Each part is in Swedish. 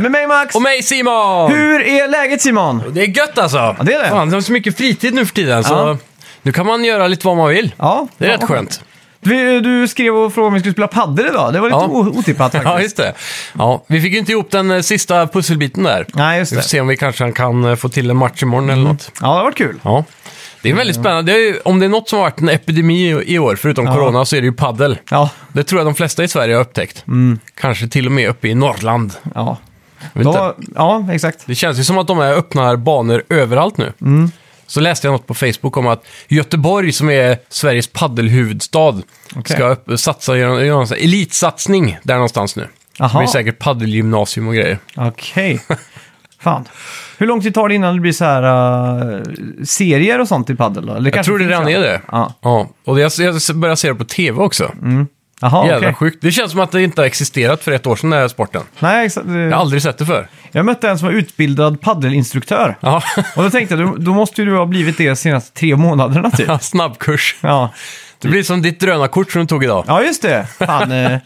Med mig Max! Och mig Simon! Hur är läget Simon? Det är gött alltså! Ja, det är det. Fan, det är så mycket fritid nu för tiden Ja. så nu kan man göra lite vad man vill. Ja, Det är ja. rätt skönt. Du, du skrev och frågade om vi skulle spela padel idag. Det var lite Ja. o- otippat Ja, faktiskt. just det. Ja, vi fick ju inte ihop den eh, sista pusselbiten där. Nej, just Vi får det. Mm. se om vi kanske kan eh, få till en match imorgon eller något. Ja, det har varit kul. Ja. Det är Mm. väldigt spännande. Det är, ju- om det är något som har varit en epidemi i- i år, förutom corona, så är det ju paddel. Ja, Det tror jag de flesta i Sverige har upptäckt. Kanske till och med uppe i Norrland. ja. Jag vet inte. Mm. Då, ja exakt. Det känns ju som att de här öppnar banor överallt nu. Mm. Så läste jag något på Facebook om att Göteborg, som är Sveriges paddelhuvudstad, Okej. ska upp, satsa, göra göra en sån här elitsatsning där någonstans nu. Det Aha. blir säkert paddelgymnasium och grejer. Okej. Fan. Hur lång tid tar det innan det blir så här eh, serier och sånt i padel då? Eller Jag tror det redan är det. Ja. Ja. Och jag, jag börjar se det på tv också. Jaha, okej. Jävla sjukt. Det känns som att det inte har existerat för ett år sedan, den här sporten. Nej, exakt. Det- Jag har aldrig sett det för. Jag mötte en som var utbildad paddelinstruktör. Ja. Och då tänkte jag, då, då måste ju du ha blivit det de senaste tre månaderna typ. Snabbkurs. Ja, Det blir som ditt drönarkort som du tog idag. ja just det. Fan, eh,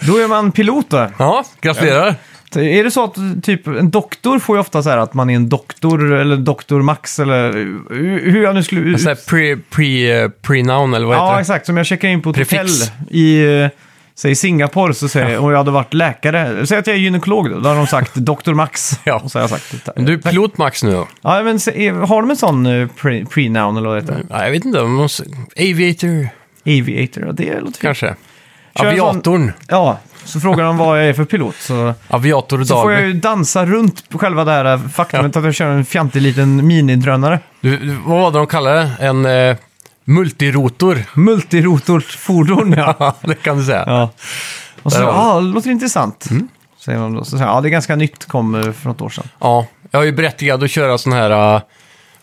då är man pilot då. Ja, gratulerar. Är det så att typ en doktor får ju ofta så här att man är en doktor eller doktor max eller hur hur jag nu skulle... En sån här pre, pre, eh, pre-noun eller vad heter ja, det? exakt. Om jag checkar in på ett Prefix. hotell i eh, säg Singapore så säger jag, och jag hade varit läkare. Säg att jag är gynekolog då, då har de sagt doktor max. Ja. Och så har jag sagt... Men Du är pilot Max nu då? Ja, men se- är- har de en sån eh, pre- pre-noun eller vad det heter? Nej, jag vet inte. man Måste... Aviator, Aviator, ja, det låter fint. kanske. Kör en sån- Aviatorn. Ja, så frågar de vad jag är för pilot så... Aviator Så får jag Dahlberg. ju dansa runt på själva det här eh, faktumet att jag kör en fjantig liten minidrönare. Du, du- vad var det de kallade det? En eh, multirotor. Multirotorsfordon, ja. det kan du säga. ja. Och så, Där ja, har vi. ah, Mm. det låter intressant. Säger de då. Så säger jag, ja, det är ganska nytt, kom eh, för något år sedan. Ja, jag är ju berättigad att köra sån här, eh,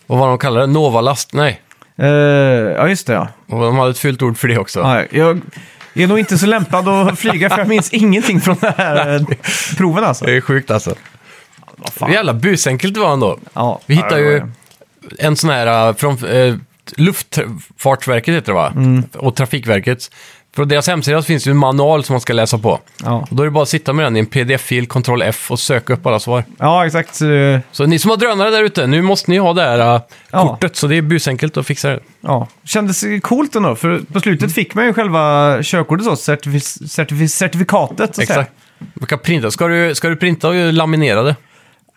vad var de kallade det? Novalast? Nej, Eh, ja, just det ja. Och de hade ett fyllt ord för det också. ja. Jag är nog inte så lämpad att flyga för jag minns ingenting från de här eh, proven alltså. Det är sjukt alltså. Vad fan. Fan. Jävla busenkelt det var ändå. Ja, Vi hittar ja, det var ju det. en sån här eh, från eh, Luftfartsverket heter det va? Mm. Och Trafikverket. På deras hemsida så finns det ju en manual som man ska läsa på. Ja. Och då är det bara att sitta med den i en pdf-fil, ctrl F och söka upp alla svar. ja, exakt. eh, Så ni som har drönare där ute, nu måste ni ha det här eh, Ja. kortet så det är busenkelt att fixa det. Ja, kändes coolt ändå. För på Mm. slutet fick man ju själva körkortet så, certifi- certifi- certifikatet. Så att säga. Exakt. Man kan printa. Ska, du, ska du printa och laminera det?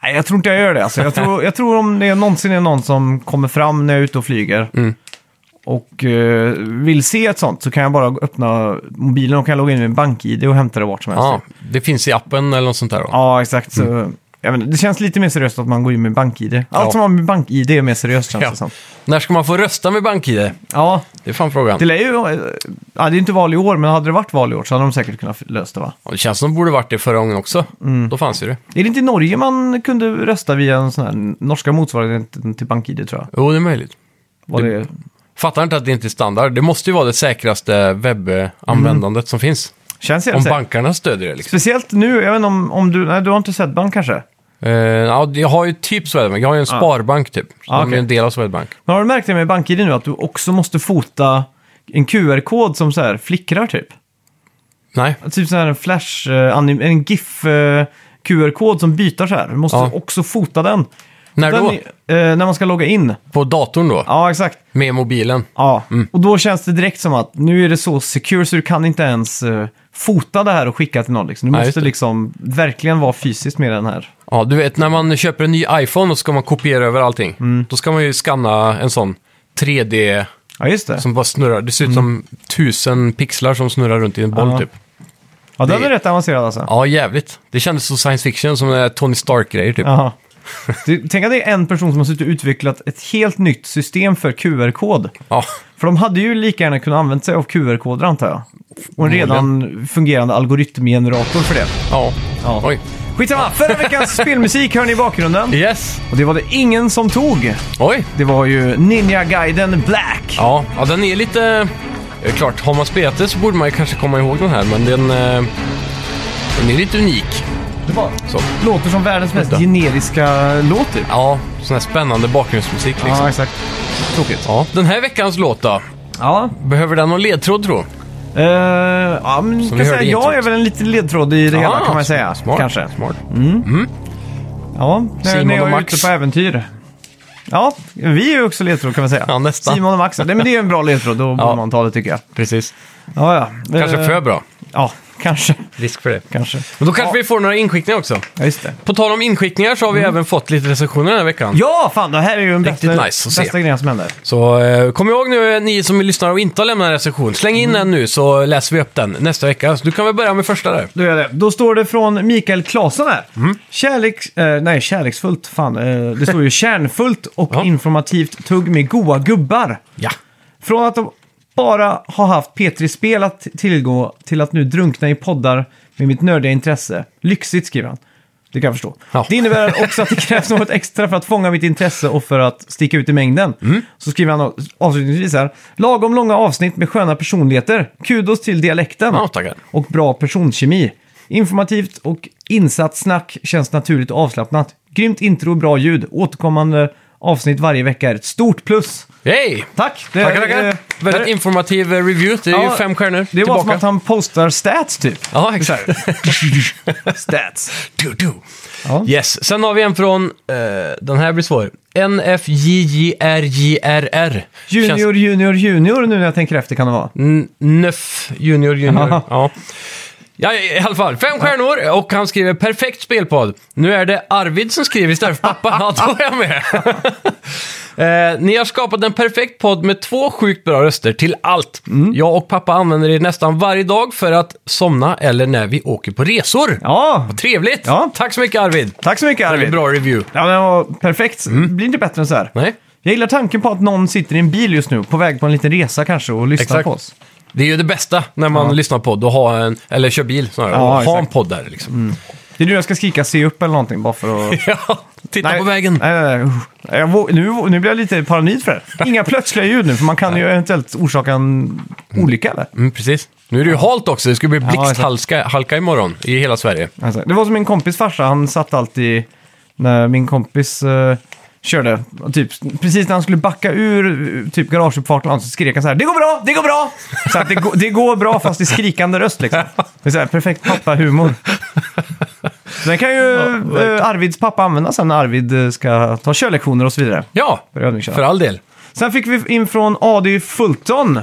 Nej, jag tror inte jag gör det. Alltså, jag, tror, jag tror om det någonsin är någon som kommer fram när jag är ute och flyger Mm. och eh, vill se ett sånt så kan jag bara öppna mobilen och kan logga in med bank-id och hämta det vart som helst. Ja, det finns i appen eller något sånt där. Då. Ja, exakt. Så, jag menar, det känns lite mer seriöst att man går in med bank-id. Allt Ja. som har med bank-id är mer seriöst känns Ja. det som. När ska man få rösta med BankID? Ja, Det är fan frågan. det lär ju... eh, Ja, det är inte val i år, men hade det varit val i år så hade de säkert kunnat lösa det va? Ja, Det känns som det borde varit det förra gången också. Mm. Då fanns ju det. Är det inte i Norge man kunde rösta via en sån här norska motsvarigheten till BankID tror jag? Jo, det är möjligt. Var det... Fattar inte att det inte är standard. Det måste ju vara det säkraste Mm. webbanvändandet som finns. Känns det Om säkert. bankarna stödjer det liksom. Speciellt nu, jag vet inte om, om du... Nej, du har inte sett bank kanske? Eh, ja, jag har ju typ Swedbank. Jag har ju en sparbank typ. Så Ah, De är okej. en del av Swedbank. Men har du märkt det med BankID nu att du också måste fota en QR-kod som så här flickrar typ? Nej, Typ så här en flash, eh, anim- en GIF eh, QR-kod som byter så här. Du måste Ja. också fota den. När den då? är- eh, när man ska logga in. på datorn då. Ja, exakt. Med mobilen. Ja, Mm. och då känns det direkt som att nu är det så secure så du kan inte ens eh, fota det här och skicka till någon. Liksom. Du Nej, just måste det. liksom verkligen vara fysiskt med den här. Ja, du vet när man köper en ny iPhone och ska man kopiera över allting. Mm. Då ska man ju scanna en sån 3D Ja, just det. som bara snurrar. Det ser ut som tusen pixlar som snurrar runt i en boll Mm. Ja. typ. ja, den det- är rätt avancerad alltså. Ja, jävligt. Det kändes så science fiction som eh, Tony Stark-grejer typ. Jaha. Du, tänk att det är en person som har suttit och utvecklat ett helt nytt system för QR-kod. Ja, För de hade ju lika gärna kunnat använda sig av QR-koder antar jag. Och en redan fungerande algoritmgenerator för det. ja. Ja. Oj. Skitsamma, förra veckans spelmusik hör ni i bakgrunden. Yes. Och det var det ingen som tog. Oj. Det var ju Ninja-guiden Black. Ja, ja den är lite... Eh, klart, har man spelat det så borde man ju kanske komma ihåg den här, men den... Eh, den är lite unik. Det var... Så. Låter som världens mest Vänta. generiska låt typ. Ja, sån här spännande bakgrundsmusik liksom. exakt. Tråkigt. Ja. Den här veckans låt då? Ja. Behöver den någon ledtråd tro? Eh, ja, men Som kan vi hörde säga, i jag introt. är väl en liten ledtråd i det hela Ah, kan man säga. Smart. Kanske. Smart. Ja, när, Simon när jag och är Max. ute på äventyr. Ja, vi är ju också ledtråd kan man säga. Ja, nästan. Simon och Max. Nej, men det är ju en bra ledtråd, då borde man ta det tycker jag. Precis. Ja, ja. Kanske Eh, för bra. Ja, kanske. Risk för det. Kanske. Men då kanske vi får några inskickningar också. Ja, just det. På tal om inskickningar så har vi även fått lite recensioner den här veckan. Mm. Ja, fan, det här är ju den Riktigt bästa, nice att se. bästa grejen som händer. Så eh, kom ihåg nu, eh, ni som lyssnar och inte har lämnat en recension, släng in Mm. den nu så läser vi upp den nästa vecka. Så du kan väl börja med första där. Då, gör jag det. då står det från Mikael Klasen här. Mm. Kärleks... Eh, nej, kärleksfullt. Fan, eh, det står ju kärnfullt och Ja. informativt tugg med goa gubbar. Ja. Från att de bara har haft P3-spel att tillgå till att nu drunkna i poddar med mitt nördiga intresse. Lyxigt, skriver han. Det kan jag förstå. Ja. Det innebär också att det krävs något extra för att fånga mitt intresse och för att sticka ut i mängden. Mm. Så skriver han avslutningsvis här. Lagom långa avsnitt med sköna personligheter. Kudos till dialekten Ja, tackar. och bra personkemi. Informativt och insatt snack känns naturligt och avslappnat. Grymt intro och bra ljud. Återkommande avsnitt varje vecka är ett stort plus. Yay! Tack! Det, Tackar, tackar. eh, det- Väldigt informativ eh, review. Det är Ja, ju fem stjärnor Det var som tillbaka. att han postar stats typ. Ja, exakt. Stats. Du, du. Ja. Yes, sen har vi en från, eh, den här blir svår. NFJJRJRR. Junior, junior, junior nu när jag tänker efter kan det vara. N- Nöff Junior Junior. Jaha. ja. Ja, i alla fall. Fem stjärnor och han skriver perfekt spelpodd. Nu är det Arvid som skriver istället för pappa. Ja, då är jag med. eh, ni har skapat en perfekt podd med två sjukt bra röster till allt. Mm. Jag och pappa använder er nästan varje dag för att somna eller när vi åker på resor. Ja, Trevligt! Ja. Tack så mycket Arvid. tack så mycket Arvid. Bra review. Ja, men det var perfekt. Blir inte bättre än så här. Nej? Jag gillar tanken på att någon sitter i en bil just nu, på väg på en liten resa kanske, och lyssnar Exakt. på oss. Det är ju det bästa när man lyssnar på podd och har en, eller kör bil snarare, Ja, och ha en exakt. podd där liksom. Det är nu jag ska skrika se upp eller någonting bara för att... Ja, titta på vägen. Nej, nej, nej. Usch. Jag, vå- nu, nu blir jag lite paranoid för det. Inga plötsliga ljud nu, för man kan ju eventuellt orsaka en olycka eller? Mm, precis. Nu är det ju halt också, det ska bli exakt. blixthalka halka imorgon i hela Sverige. Alltså, det var som min kompis farsa, han satt alltid när min kompis eh, körde. Och Typ, precis när han skulle backa ur eh, typ garageuppfarten och allt så skrek han så här “Det går bra, det går bra!” Så att det, går- det går bra fast i skrikande röst liksom. Det är så här, perfekt pappa-humor. Den kan ju eh, Arvids pappa använda sen när Arvid eh, ska ta körlektioner och så vidare. Ja, För övningsköra. för all del. Sen fick vi in från AD Fulton.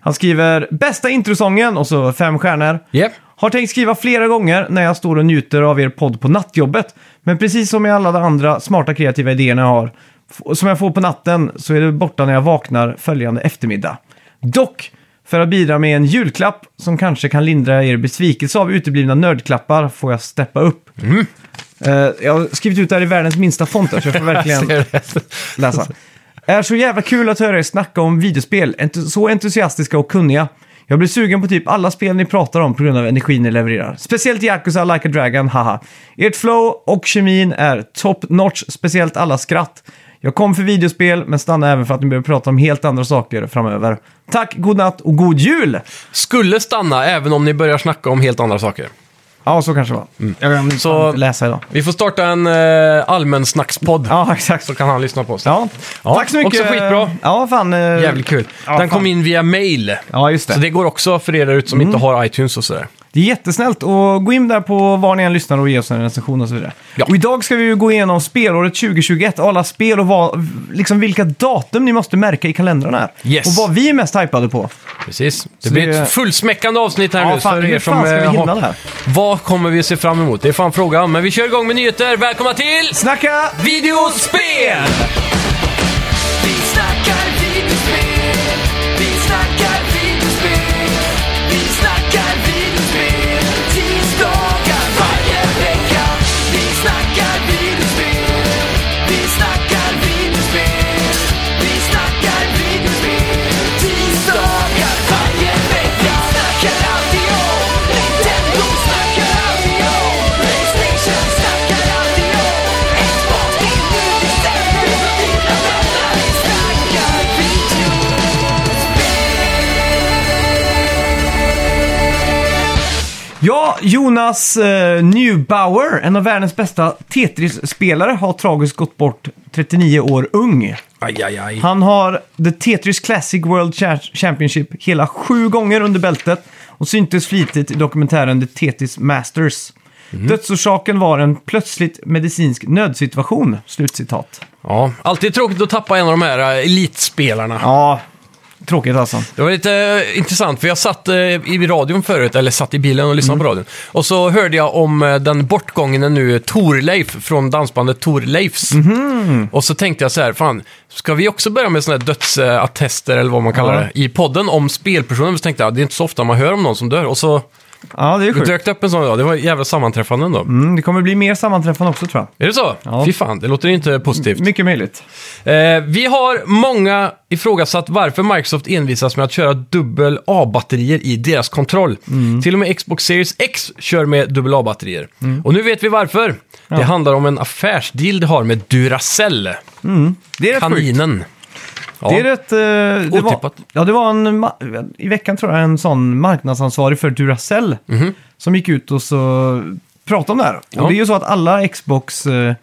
Han skriver “Bästa introsången” och så fem stjärnor. Yep. Har tänkt skriva flera gånger när jag står och njuter av er podd på nattjobbet. Men precis som i alla de andra smarta kreativa idéerna jag har, f- som jag får på natten, så är det borta när jag vaknar följande eftermiddag. Dock, för att bidra med en julklapp som kanske kan lindra er besvikelse av uteblivna nördklappar får jag steppa upp. Eh, jag har skrivit ut det här i världens minsta font, här, så jag får verkligen läsa. Är så jävla kul att höra er snacka om videospel. Entu- Så entusiastiska och kunniga. Jag blir sugen på typ alla spel ni pratar om på grund av energin ni levererar. Speciellt Yakuza Like a Dragon, haha. Ert flow och kemin är top notch, speciellt alla skratt. Jag kom för videospel, men stannar även för att ni behöver prata om helt andra saker framöver. Tack, god natt och god jul! Skulle stanna även om ni börjar snacka om helt andra saker. Ja, så kanske det var. Jag kan Mm. Så- så... inte läsa idag. Vi får starta en eh, allmän snackspodd. Ja, exakt. Så kan han lyssna på oss. Ja. Ja, tack så mycket. också skitbra. Ja, fan. eh, Jävligt kul. Ja, Den fan. kom in via mail. Ja, just det. Mm. Så det går också för er där ute som inte har iTunes och sådär. Det är jättesnällt och gå in där på var ni än lyssnar och ge oss en recension och så vidare. Ja. Och idag ska vi ju gå igenom spelåret 2021, alla spel och vad, liksom vilka datum ni måste märka i kalendrarna här. Yes. Och vad vi är mest hypade på. Precis. Det Så blir det- ett fullsmäckande avsnitt här Ja, nu fan, för hur er som... fan ska vi eh, hinna har- det här? Vad kommer vi se fram emot? Det är fan frågan. Men vi kör igång med nyheter. Välkomna till... Snacka! Videospel! Vi snackar videospel, vi snackar videospel, vi snackar videospel, tisdagar varje vecka. Vi snackar videospel, vi snackar videospel, vi snackar videospel, tisdagar varje vecka. Snackar alltid om Nintendo, snackar alltid om Playstation, snackar alltid om Xbox, nu december, dina vänner, vi snackar video. Ja, Jonas eh, Neubauer, en av världens bästa Tetris-spelare, har tragiskt gått bort 39 år ung. Aj, aj, aj. Han har The Tetris Classic World Cha- Championship hela sju gånger under bältet och syntes flitigt i dokumentären The Tetris Masters. Dödsorsaken var en plötsligt medicinsk nödsituation. Slutcitat. Ja, alltid tråkigt att tappa en av de här eh, elitspelarna. Ja, tråkigt alltså. Det var lite eh, intressant, för jag satt eh, i radion förut, eller satt i bilen och lyssnade Mm. på radion. Och så hörde jag om eh, den bortgångne nu Torleif från dansbandet Torleifs. Mhm. Och så tänkte jag så här, fan, ska vi också börja med sådana här dödsattester, eller vad man kallar Ja. det, i podden om spelpersoner? Så tänkte jag, det är inte så ofta man hör om någon som dör. Och så Ja, det är det sjukt. dök det upp en sån, ja, det var jävla sammanträffande ändå. Mm, det kommer bli mer sammanträffande också tror Är det så? Ja. Fy fan, det låter inte positivt. jag. Mycket möjligt. Eh, vi har många ifrågasatt varför Microsoft envisas med att köra dubbel A-batterier i deras kontroll. Mm. Till och med Xbox Series X kör med dubbel A-batterier. Mm. Och nu vet vi varför. Det handlar om en affärsdeal det har med Duracell, Det är rätt sjukt. kaninen. Ja. Det är rätt... Eh, det var, Otippat. ja, det var en... ma- I veckan tror jag en sån marknadsansvarig för Duracell som gick ut och så pratade om det här. Mhm. Ja. Och det är ju så att alla Xbox... Eh,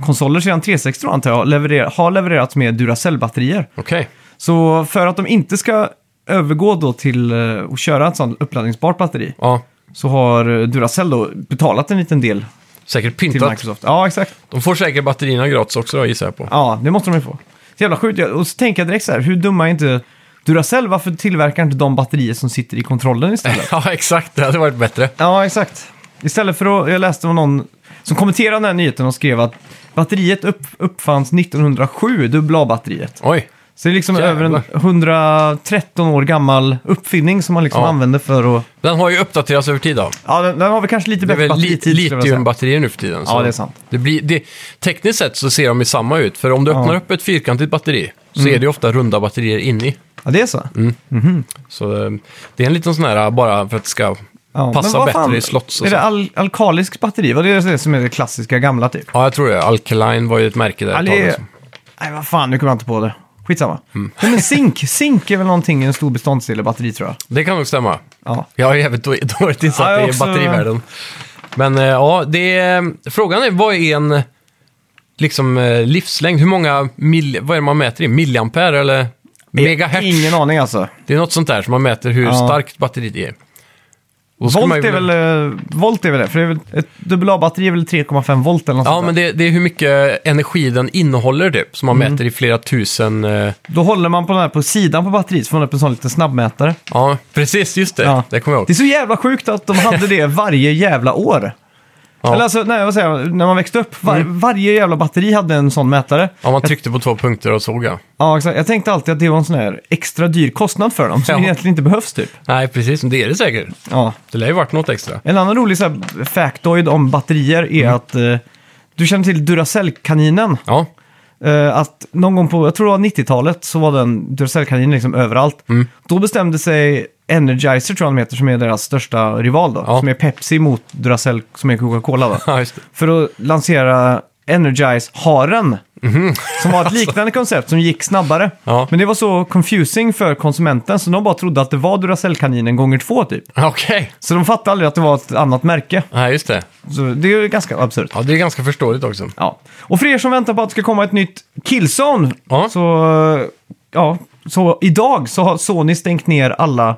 konsoler sedan 360 tror jag, antar jag leverer- har levererats med Duracell-batterier. Okej. Så för att de inte ska övergå då till eh, att köra ett sånt uppladdningsbart batteri Ja, så har eh, Duracell då betalat en liten del säkert till pyntat. Microsoft. Ja, exakt. De får säkert batterierna gratis också då, gissar jag på. Ja, det måste de ju få. Så jävla sjukt. Jag- Och så tänker jag direkt så här, hur dumma är inte Duracell? Varför tillverkar inte de batterier som sitter i kontrollen istället? Ja, exakt. Det hade varit bättre. ja, exakt. Istället för att, jag läste om någon som kommenterade den här nyheten och skrev att batteriet upp, uppfanns 1907, dubbla A-batteriet. Oj. Så det är liksom över en Jävlar. 113 år gammal uppfinning som man liksom Ja. använder för att... Den har ju uppdaterats över tid då. Ja, den, den har väl kanske lite Det är bättre väl li- batteritid. skulle jag vilja säga. litiumbatterier nu för tiden. så Ja, det är sant. Det blir, det, tekniskt sett så ser de ju samma ut, för om du Ja. Mm. öppnar upp ett fyrkantigt batteri så är det ju ofta runda batterier inne i. Ja, det är så. Mm. Så eh, det är en liten sån här eh, bara för att det ska Ja, men passa vad bättre fan- i slots och Är så. det al- alkalisk batteri? Vad är det det som är det klassiska gamla typ? Ja, jag tror det. Alkaline var ju ett märke där Ja, ett tag, det är... liksom. Nej, vad fan, nu kommer jag inte på det. Skitsamma. Mm. Nej, men zink. zink är väl någonting i en stor beståndsdel i batteri tror jag. det kan nog stämma. Ja. Jag är jävligt då- dåligt insatt Ja, jag i också- batterivärlden. Men eh, ja, det är, eh, frågan är vad är en liksom, eh, livslängd? Hur många mil, vad är det man mäter i? Milliampere eller megahertz? Ingen aning alltså. Det är något sånt där som man mäter hur Ja. starkt batteriet är. Och ska man Volt ju- är, väl, eh, volt är väl det? För det är väl, ett AA-batteri är väl 3,5 volt eller något Ja, sånt där. men det, det är hur mycket energi den innehåller typ, som man Mm. mäter i flera tusen... eh, Då håller man på den här på sidan på batteriet så får man upp en sån liten snabbmätare. Ja, precis, just det. Ja. Det kommer jag Det är ihåg. så jävla sjukt att de hade det varje jävla år. Ja. Mm. Eller alltså, nej, vad säger jag, när man växte upp, var, varje jävla batteri hade en sån mätare. Ja, man tryckte på två punkter och såg ja. Ja, exakt. Jag tänkte alltid att det var en sån här extra dyr kostnad för dem, som Ja. egentligen inte behövs typ. Nej, precis, men det är det säkert. Ja. Det lär ju varit något extra. En annan rolig så här, factoid om batterier är att eh, du känner till Duracell-kaninen. Mm. Ja, Eh, att någon gång på, jag tror det var 90-talet, så var den Duracell-kaninen liksom överallt. Mm. Då bestämde sig Energizer, tror jag de heter, som är deras största rival då. Ja. Som är Pepsi mot Duracell, som är Coca-Cola då. ja just det. för att lansera Energize-haren. Som var ett liknande koncept som gick snabbare. Mhm. Alltså. Ja. Men det var så confusing för konsumenten så de bara trodde att det var Duracell-kaninen gånger två typ. Ja, Okej, Så de fattade aldrig att det var ett annat märke. ja, just det. Så det är ju ganska absurt. Ja, det är ganska förståeligt också. Ja. Och för er som väntar på att det ska komma ett nytt Killzone. Ja. Så, eh, ja, så idag så har Sony stängt ner alla,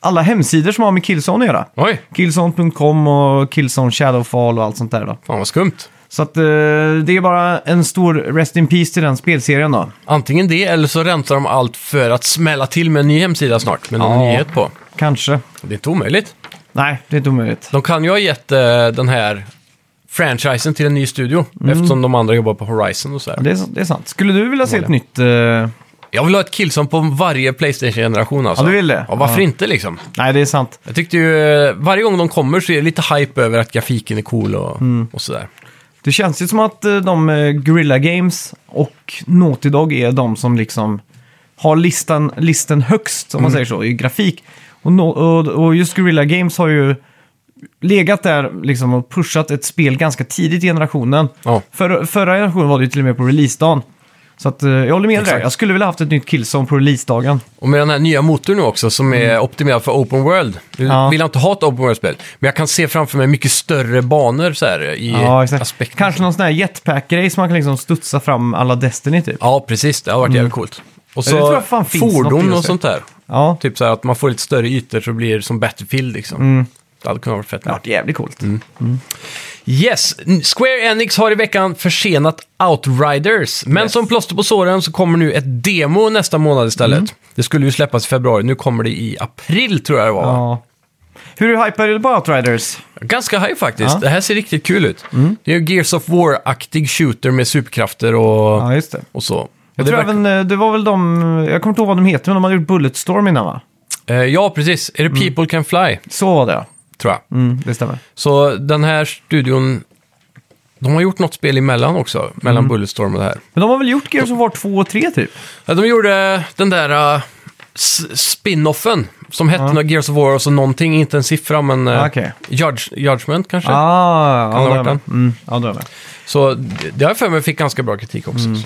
alla hemsidor som har med Killzone att göra. Oj, Killzone.com och Killzone Shadowfall och allt sånt där då. fan vad skumt. Så att eh, det är bara en stor rest in peace till den spelserien då. Antingen det, eller så rensar de allt för att smälla till med en ny hemsida snart, med någon Ja. nyhet på. Kanske. Det är inte omöjligt. Nej, det är inte omöjligt. De kan ju ha gett eh, den här franchisen till en ny studio, Mm. eftersom de andra jobbar på Horizon och sådär. Det är, det är sant. Skulle du vilja se ett nytt... eh, Jag vill ha ett killsong på varje Playstation-generation alltså. Ja, du vill det? Ja, varför Ja. inte liksom? Nej, det är sant. Jag tyckte ju, eh, varje gång de kommer så är det lite hype över att grafiken är cool och, Mm. och sådär. Det känns ju som att eh, de eh, Guerrilla Games och Naughty Dog är de som liksom har listan, listen högst, om Mm. man säger så, i grafik. Och, no, och, och just Guerrilla Games har ju legat där liksom och pushat ett spel ganska tidigt i generationen. Ja. För, förra generationen var det ju till och med på releasedagen. Så att, eh, jag håller med dig. Exakt. Jag skulle vilja haft ett nytt Killzone på releasedagen. Och med den här nya motorn nu också som är optimerad för open world. Nu Mm. Ja. vill jag inte ha ett open world-spel, men jag kan se framför mig mycket större banor så här i Ja, exakt. aspekten. Kanske någon sån här jetpack-grej som man kan liksom studsa fram alla Destiny typ. Ja, precis. Det har varit jävligt coolt. Och det tror så jag fan finns något i fordon just och det. sånt där. Ja, Typ så här att man får lite större ytor så blir det som Battlefield liksom. Det hade kunnat vara fett. det har varit jävligt coolt. Yes, Square Enix har i veckan försenat Outriders. Men som plåster på såren så kommer nu ett demo nästa månad istället. Mm. Det skulle ju släppas i februari, nu kommer det i april tror jag det var. va? Ja. Hur hypar du på Outriders? Ganska high faktiskt, Ja. det här ser riktigt kul ut. Det är ju Gears of War-aktig shooter med superkrafter och, Ja, just det. och så. Och Jag det tror verkar- även, eh, det var väl de, jag kommer inte ihåg vad de heter, men de hade gjort Bulletstorm innan va? Eh, ja, precis. Är det People Can Fly, Så var det ja. tror jag. mm, det stämmer. Så den här studion, de har gjort något spel emellan också, mellan Mm. Bulletstorm och det här. Men de har väl gjort Gears of War 2 och 3 typ? Ja, de gjorde den där uh, s- spin-offen som hette något Gears of War och så någonting, inte en siffra men eh, Ah, okej. Judge, Judgment kanske. Ah, ja, det ha då är varit jag med. Mm, ja, då är jag med. Så det det har jag för mig fick ganska bra kritik också. Mm.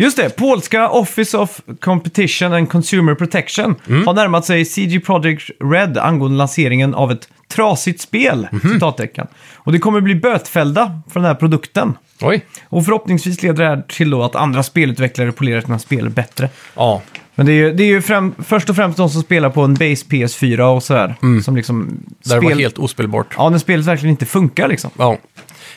Just det, polska Office of Competition and Consumer Protection har närmat sig CG Projekt Red angående lanseringen av ett trasigt spel, citattecken. Och det kommer bli bötfällda för den här produkten. Oj. Och förhoppningsvis leder det här till då att andra spelutvecklare polerar sina spel bättre. Ja. Men det är ju, det är ju främ, först och främst de som spelar på en base PS4 och sådär. Som liksom... Mm. Där det var helt ospelbart. Ja, när spelet verkligen inte funkar liksom. Ja.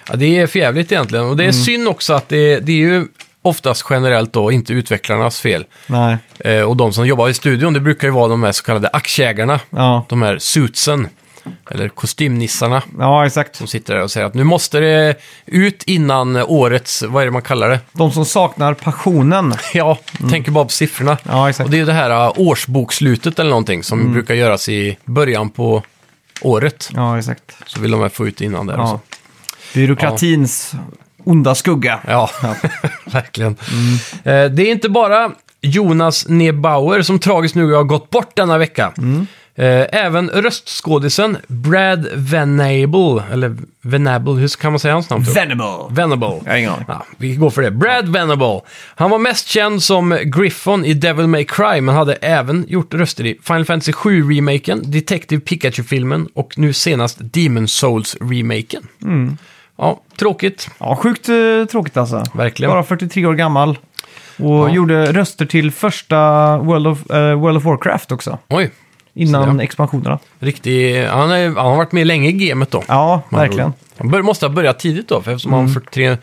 ja, det är förjävligt egentligen. Och det är Mm. synd också att det, det är ju oftast generellt då inte utvecklarnas fel. Nej. Eh, och de som jobbar i studion, det brukar ju vara de här så kallade aktieägarna. Ja, De här suitsen, eller kostymnissarna. ja exakt. som sitter där och säger att nu måste det ut innan årets, vad är det man kallar det? De som saknar passionen. Ja, tänker bara på siffrorna. Mm. Ja, exakt. Mm. Och det är ju det här uh, årsbokslutet eller någonting som brukar göras i början på året. Ja, exakt. Så vill de här få ut det innan där. och Ja. så. Byråkratins onda skugga. ja. verkligen. Eh, Det är inte bara Jonas Nebauer som tragiskt nog har gått bort denna vecka. Eh, Även röstskådisen Brad Venable, eller Venable, hur kan man säga hans namn? tror jag? Venable. Venable. Jag har ingen aning. Ja, vi går för det. Brad Venable. Han var mest känd som Griffon i Devil May Cry, men hade även gjort röster i Final Fantasy 7-remaken, Detective Pikachu-filmen och nu senast Demon Souls-remaken. Mm. Ja, tråkigt. Ja, sjukt eh, tråkigt alltså. Verkligen. Bara 43 år gammal. Och Ja. gjorde röster till första World of, eh, World of Warcraft också. Oj, Innan Så ja. expansionerna. riktig... Han, är, han har varit med länge i gamet då. Ja, Man verkligen. Mm. tror- Han bör, måste ha börjat tidigt då, för eftersom han 43...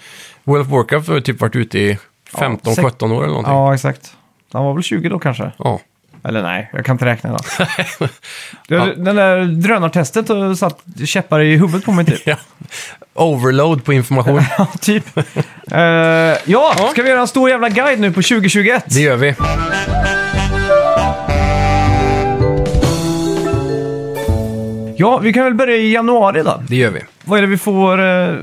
World of Warcraft har ju typ varit ute i Ja, 15-17 sex- år eller någonting. Ja, exakt. Han var väl 20 då kanske. Ja. Eller nej, jag kan inte räkna idag. ja. Den där drönartestet eh, satt käppar i huvudet på mig typ. ja. Overload på information. ja, typ. Eh, ja, ska vi göra en stor jävla guide nu på 2021? Det gör vi. Ja, vi kan väl börja i januari då. Det gör vi. Vad är det vi får eh,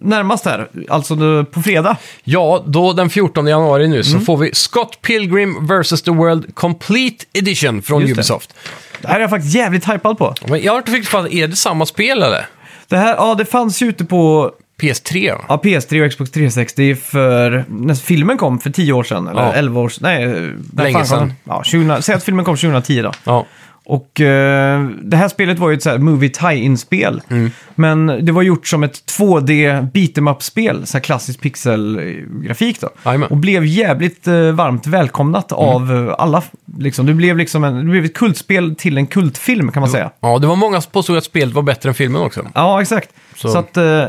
närmast här? Alltså nu på fredag? Ja, då den 14 januari nu Mm. så får vi Scott Pilgrim vs. The World Complete Edition från Just det. Ubisoft. Det här är jag faktiskt jävligt hypad på. Men jag har inte riktigt fattat, är det samma spel eller? Det här, ja det fanns ju ute på PS3? va? ja, PS3 och Xbox 360 för, när filmen kom för 10 år sedan, eller Ja. 11 år sedan, nej. eh, när fan kom Länge den? sedan. Ja, 20, säg att filmen kom 2010 då. Ja. Och eh, det här spelet var ju ett så här movie tie-in-spel. Mm. Men det var gjort som ett 2D beat'em up-spel, så här klassisk pixelgrafik då. Jajamän. Mm. Och blev jävligt eh, varmt välkomnat av eh, alla. Liksom, det, blev liksom en, det blev ett kultspel till en kultfilm kan man säga. ja, det var många som påstod att spelet var bättre än filmen också. Ja, exakt. Så- Så, att... eh,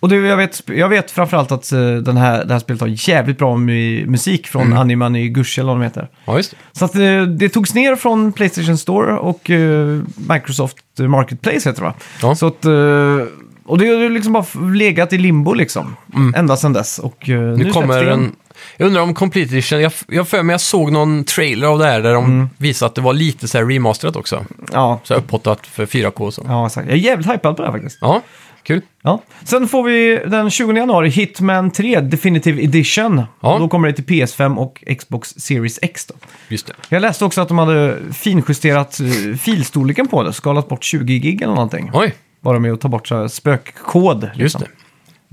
Och det, jag, vet, jag vet framförallt att eh, den här, det här spelet har jävligt bra mu- musik från mm. Anima Nygushi eller vad de heter. Ja, just det. Så att eh, det togs ner från Playstation Store och eh, Microsoft Marketplace heter det va? Ja. Så att, eh, och det har ju liksom bara f- legat i limbo liksom. Ända sedan dess. Och eh, nu, Nu, släpps Mm. kommer det igen. en... Jag undrar om Complete Edition, jag, jag för mig jag såg någon trailer av det här där de Mm. visade att det var lite så här remasterat också. Ja, Så här upphottat för 4K och så. ja exakt. Jag är jävligt hypad på det här faktiskt. Ja, kul. Ja. Sen får vi den 20 januari Hitman 3 Definitive Edition. Ja. Och Då kommer det till PS5 och Xbox Series X då. Just det. Jag läste också att de hade finjusterat eh, filstorleken på det, skalat bort 20 gig eller någonting. Oj, Bara med att ta bort så här spökkod. just liksom. det.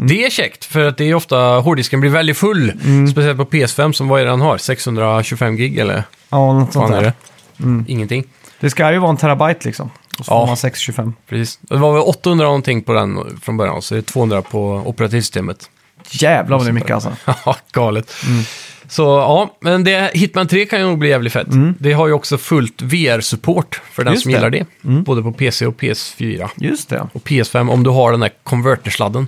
Det är käckt, för att det är ofta hårddisken blir väldigt full. Mm. Speciellt på PS5 som vad är det den har? 625 gig eller Ja, något sånt vad där. är Mm. det? Ingenting. Det ska ju vara en terabyte liksom. Och så Ja. får man 625. Precis. Det var väl 800 någonting på den från början, så det är 200 på operativsystemet. Jävlar vad det är mycket alltså. Ja, galet. Så ja, men det, Hitman 3 kan ju nog bli jävligt fett. Det har ju också fullt VR-support för den Mm. Just som det. Mm. gillar det. Både på PC och PS4. Just det. Och PS5 om du har den där konvertersladden.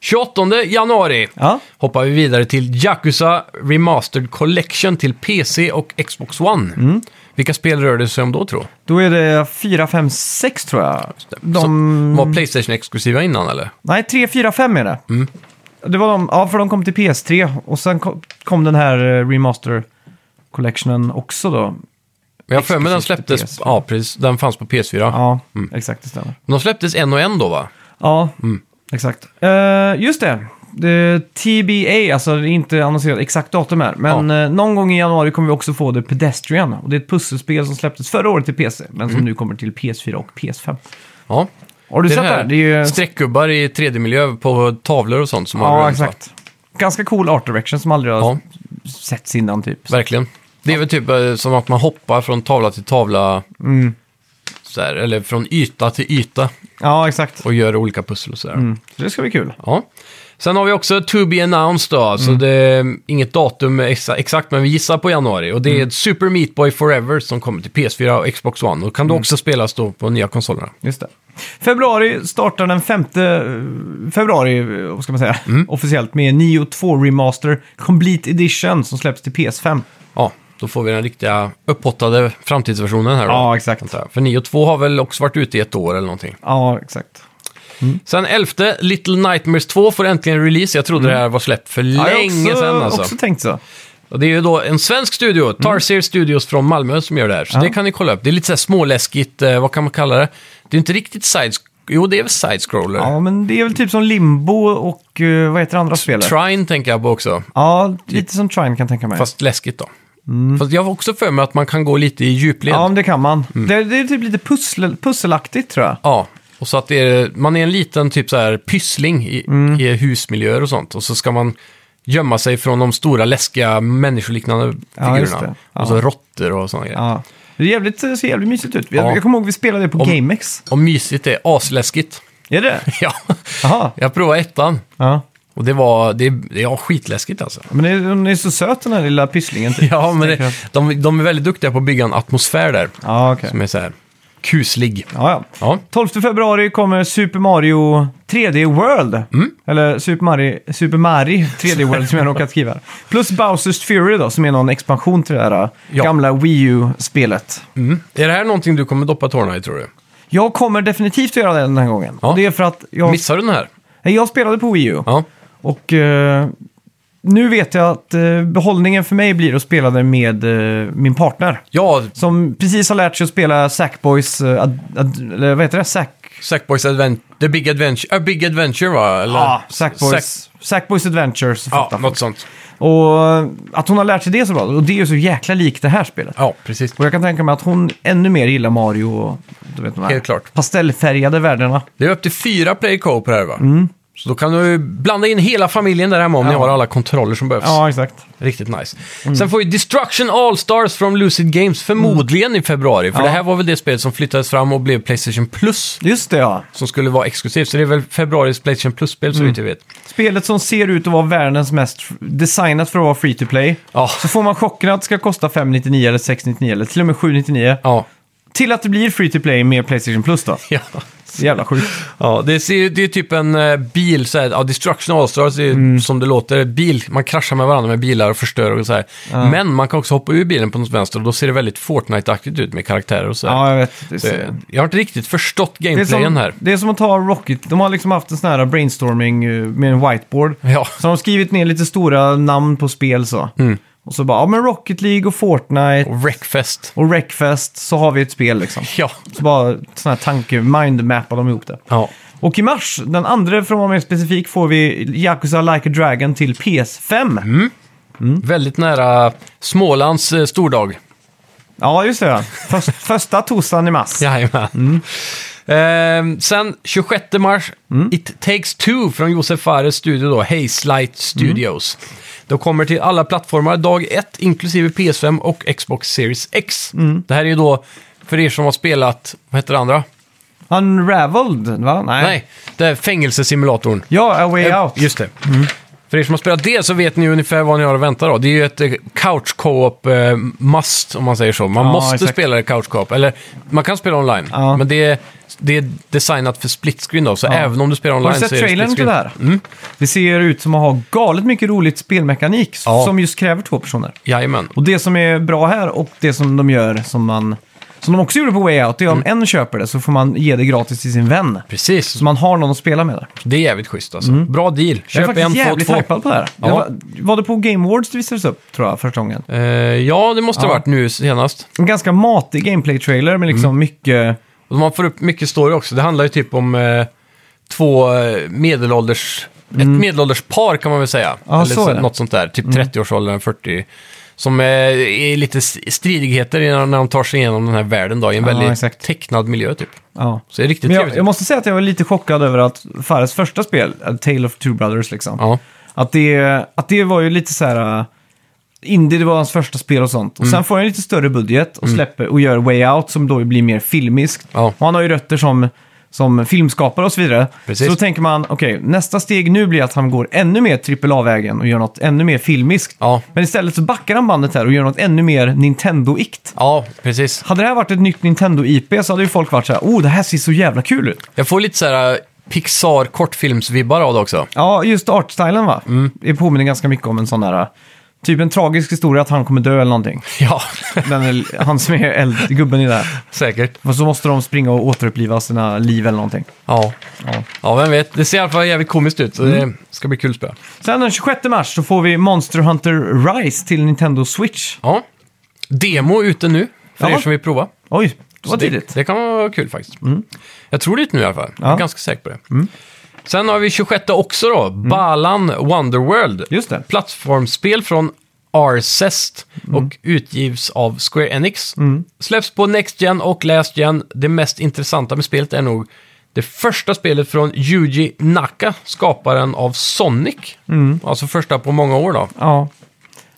28 januari Mm. Ja, hoppar vi vidare till Yakuza Remastered Collection till PC och Xbox One. Mm. Vilka spel rör det sig om då tror du? då är det 4, 5, 6 tror jag. Som De... var Playstation-exklusiva innan eller? Nej, 3, 4, 5 är det. Mm. Det var de, ja för de kom till PS3 och sen kom, kom den här eh, Remaster Collectionen också då. Men jag har för mig den Exklusivt till släpptes, PS4. ja precis, den fanns på PS4. Ja, Mm. exakt det stämmer. De släpptes en och en då va? Ja, Mm. exakt. Eh, just det. det. TBA, alltså det är inte annonserat exakt datum här. Men eh, någon gång i januari kommer vi också få The Pedestrian. Och det är ett pusselspel som släpptes förra året till PC, men som nu kommer till PS4 och PS5. Ja. Har du Mm. Det är sett det det? här, Här? Det är ju... streckgubbar i 3D-miljö på tavlor och sånt som har Ja, runt, va? exakt. Ganska cool art direction som aldrig har Ja. setts innan typ. Verkligen. Det är väl typ eh, som att man hoppar från tavla till tavla. Mm. Så här, eller från yta till yta Ja, exakt. och gör olika pussel och sådär. Mm. Så det ska bli kul. Ja. Sen har vi också To Be Announced då, så Mm. det är inget datum exa- exakt, men vi gissar på januari. Och det Mm. är Super Meat Boy Forever som kommer till PS4 och Xbox One. Och kan Mm. då också spelas då på nya konsolerna. Just det. Februari startar den 5 februari, eh, vad ska man säga, Mm. officiellt med Neo 2 Remaster Complete Edition som släpps till PS5. Ja, då får vi den riktiga upphottade framtidsversionen här då. Ja, exakt. antar jag. För 9 och 2 har väl också varit ute i ett år eller någonting. Ja, exakt. Sen 11, Little Nightmares 2 får äntligen release. Jag trodde det här var släppt för länge Mm. jag har sedan också, alltså. också tänkt så. Och det är ju då en svensk studio, Tarsier Studios från Malmö, som gör det här. Så Ja. det kan ni kolla upp. Det är lite så här småläskigt, eh, vad kan man kalla det? Det är inte riktigt side... Jo, det är väl side-scroller. Ja, men det är väl typ som Limbo och eh, vad heter det andra spelet? Trine tänker jag på också, Ja, lite som Trine kan jag tänka mig. fast läskigt då. Mm. Fast jag har också för mig att man kan gå lite i djupled. ja, Ja. men det kan man. Mm. Det, det är typ lite pussel, pusselaktigt tror jag. Och så att det är, man är en liten typ så här pyssling i, Mm. i husmiljöer och sånt. Och så ska man gömma sig från de stora läskiga människoliknande Ja, just figurerna. det. Ja. Och så råttor och sådana grejer. Ja. Det är jävligt, det ser jävligt mysigt ut. Jag, Ja. jag kommer ihåg vi spelade det på Om- GameX. Och mysigt det är, asläskigt. Är det ja, Jaha. jag provade ettan. Ja. Och det var, det, det var skitläskigt alltså. Men det, hon är så söt den här lilla pysslingen. Typ. Ja, men Tänker det, de, de är väldigt duktiga på att bygga en atmosfär där. Ja, okej. Som är så här kuslig. Ja, ja. Ja, 12 februari kommer Super Mario 3D World. Mm. Eller Super Mario, Super Mario 3D World som jag råkat skriva. här. Plus Bowsers Fury då, som är någon expansion till det här äh, Ja. gamla Wii U-spelet. mm. Är det här någonting du kommer doppa tårna i tror du? Jag kommer definitivt göra det den här gången. Ja. Och Det är för att jag, Missar du den här? Nej, jag spelade på Wii U. Ja, Och eh, nu vet jag att eh, behållningen för mig blir att spela det med eh, min partner. ja Som precis har lärt sig att spela Sackboys, eh, ad, ad, eller vad heter det? Sack... Sackboys Advent, The Big Adventure, A Big Adventure va? Eller? Ja, Sackboys, Sack- Sackboys Adventures. ja, fattar folk. något sånt. Och eh, att hon har lärt sig det så bra, och det är ju så jäkla likt det här spelet. Ja, precis. Och jag kan tänka mig att hon ännu mer gillar Mario och du vet, de här Helt klart. pastellfärgade världarna. Det är upp till fyra player co-op här va? Så då kan du blanda in hela familjen där hemma om ni Mm. Ja. har alla kontroller som behövs. Ja, Mm. exakt. Riktigt nice. Sen får vi Destruction All-Stars från Lucid Games förmodligen i februari. För Mm. Ja. det här var väl det spelet som flyttades fram och blev Playstation Plus. Just det ja. Som skulle vara exklusivt. Så det är väl februaris Playstation Plus-spel Mm. så vitt jag vet. Spelet som ser ut att vara världens mest designat för att vara free to play. Ja. Så får man chocken att det ska kosta 599 eller 699 eller till och med 799. Ja. Till att det blir free to play med Playstation Plus då. Ja. Så jävla sjukt. ja, det är, det är typ en eh, bil, så här, ja, Destruction All-Stars är ju Mm. som det låter, bil, man kraschar med varandra med bilar och förstör och så här. Men man kan också hoppa ur bilen på något vänster och då ser det väldigt Fortnite-aktigt ut med karaktärer och så här. Ja, jag vet. Det är, så- Det, jag har inte riktigt förstått det, är gameplayen som, här. det är som att ta Rocket. De har liksom haft en sån här brainstorming eh, med en whiteboard. Ja. Mm. Så de har skrivit ner lite stora namn på spel så. Och så bara, ja men Rocket League och Fortnite Och Wreckfest. och Wreckfest så har vi ett spel liksom. Ja. Så bara sån här tanke, mindmappar de ihop det. Ja. Och i mars, den andra för att vara mer specifik, får vi Yakuza Like a Dragon till PS5. Mm. Mm. Väldigt nära Smålands eh, stordag. Ja, just det. Först, första torsdagen i mars. Jajamän. Ehm, sen 26 mars, It Takes Two från Josef Fares studio då, Hazelight Studios. Då kommer till alla plattformar dag 1, inklusive PS5 och Xbox Series X. Det här är ju då, för er som har spelat, vad heter det andra? Unraveled, va? Nej. Nej, det är fängelsesimulatorn. Ja, A Way Eh, Out. Just det. För er som har spelat det så vet ni ungefär vad ni har att vänta då. Det är ju ett eh, couch co-op eh, must, om man säger så. Man Ja, måste exakt. spela det couch co-op. Eller, man kan spela online. Ja. Men det är, det är designat för split screen då, så Ja. även om du spelar Har online du så är det sett split screen. trailern till det här? Mm. Det ser ut som att ha galet mycket roligt spelmekanik s- Ja. som just kräver två personer. Jajamän. Och det som är bra här och det som de gör som man... Som de också gjorde på Way Out, det är Mm. om en köper det så får man ge det gratis till sin vän. Precis, Så man har någon att spela med där. det är jävligt schysst alltså. Bra deal. Jag Mm. är Köp faktiskt en, få jävligt två. hypad på det här. Ja. Jag var, var det på Game Awards det visades upp, tror jag, första gången? Eh, ja, det måste ha Ja. varit nu senast. En ganska matig gameplay-trailer med Mm. liksom mycket... Och man får upp mycket story också. Det handlar ju typ om eh, två eh, medelålders... Ett medelålders par kan man väl säga. Mm. Ja, så är det. Mm. något sånt där. Typ 30-årsåldern, 40. Som eh, är lite s- stridigheter när när de tar sig igenom den här världen då, i en Ja, väldigt exakt. tecknad miljö typ. Ja. Så det är riktigt Men jag, trevligt. jag måste säga att jag var lite chockad över att Fares första spel, A Tale of Two Brothers, liksom. Ja. Att, det, att det var ju lite så här... äh, Indie, det var hans första spel och sånt. Och Mm. sen får han lite större budget och släpper och gör Way Out som då blir mer filmiskt. Ja. Och han har ju rötter som, som filmskapare och så vidare. Precis. Så då tänker man, okej, nästa steg nu blir att han går ännu mer AAA-vägen och gör något ännu mer filmiskt. Ja. Men istället så backar han bandet här och gör något ännu mer Nintendo-ikt. ja, precis. Hade det här varit ett nytt Nintendo-IP så hade ju folk varit så här, oh, det här ser så jävla kul ut. Jag får lite så här eh, Pixar kortfilmsvibbar av det också. Ja, just artstylen va? Det påminner ganska mycket om en sån där, typ en tragisk historia att han kommer dö eller någonting. Ja, Den är, han som är eld, gubben i det här. säkert. Och så måste de springa och återuppliva sina liv eller någonting. Ja. Ja. ja, vem vet. Det ser i alla fall jävligt komiskt ut, så Mm. det ska bli kul att spela. Sen den 26 mars så får vi Monster Hunter Rise till Nintendo Switch. Ja. Demo ute nu, för Ja. er som vill prova. Oj, det var Så tidigt. Mm. Det, det kan vara kul faktiskt. Jag tror det är ut nu i alla fall. Jag Ja. Mm. är ganska säker på det. Sen har vi 26 också då, Balan Wonderworld. Just det. Mm. Plattformsspel från Arcest och utgivs av Square Enix. Släpps på Next Gen och Last Gen. Det mest intressanta med spelet är nog det första spelet från Yuji Naka, skaparen av Sonic. Mm. Alltså första på många år då. Ja.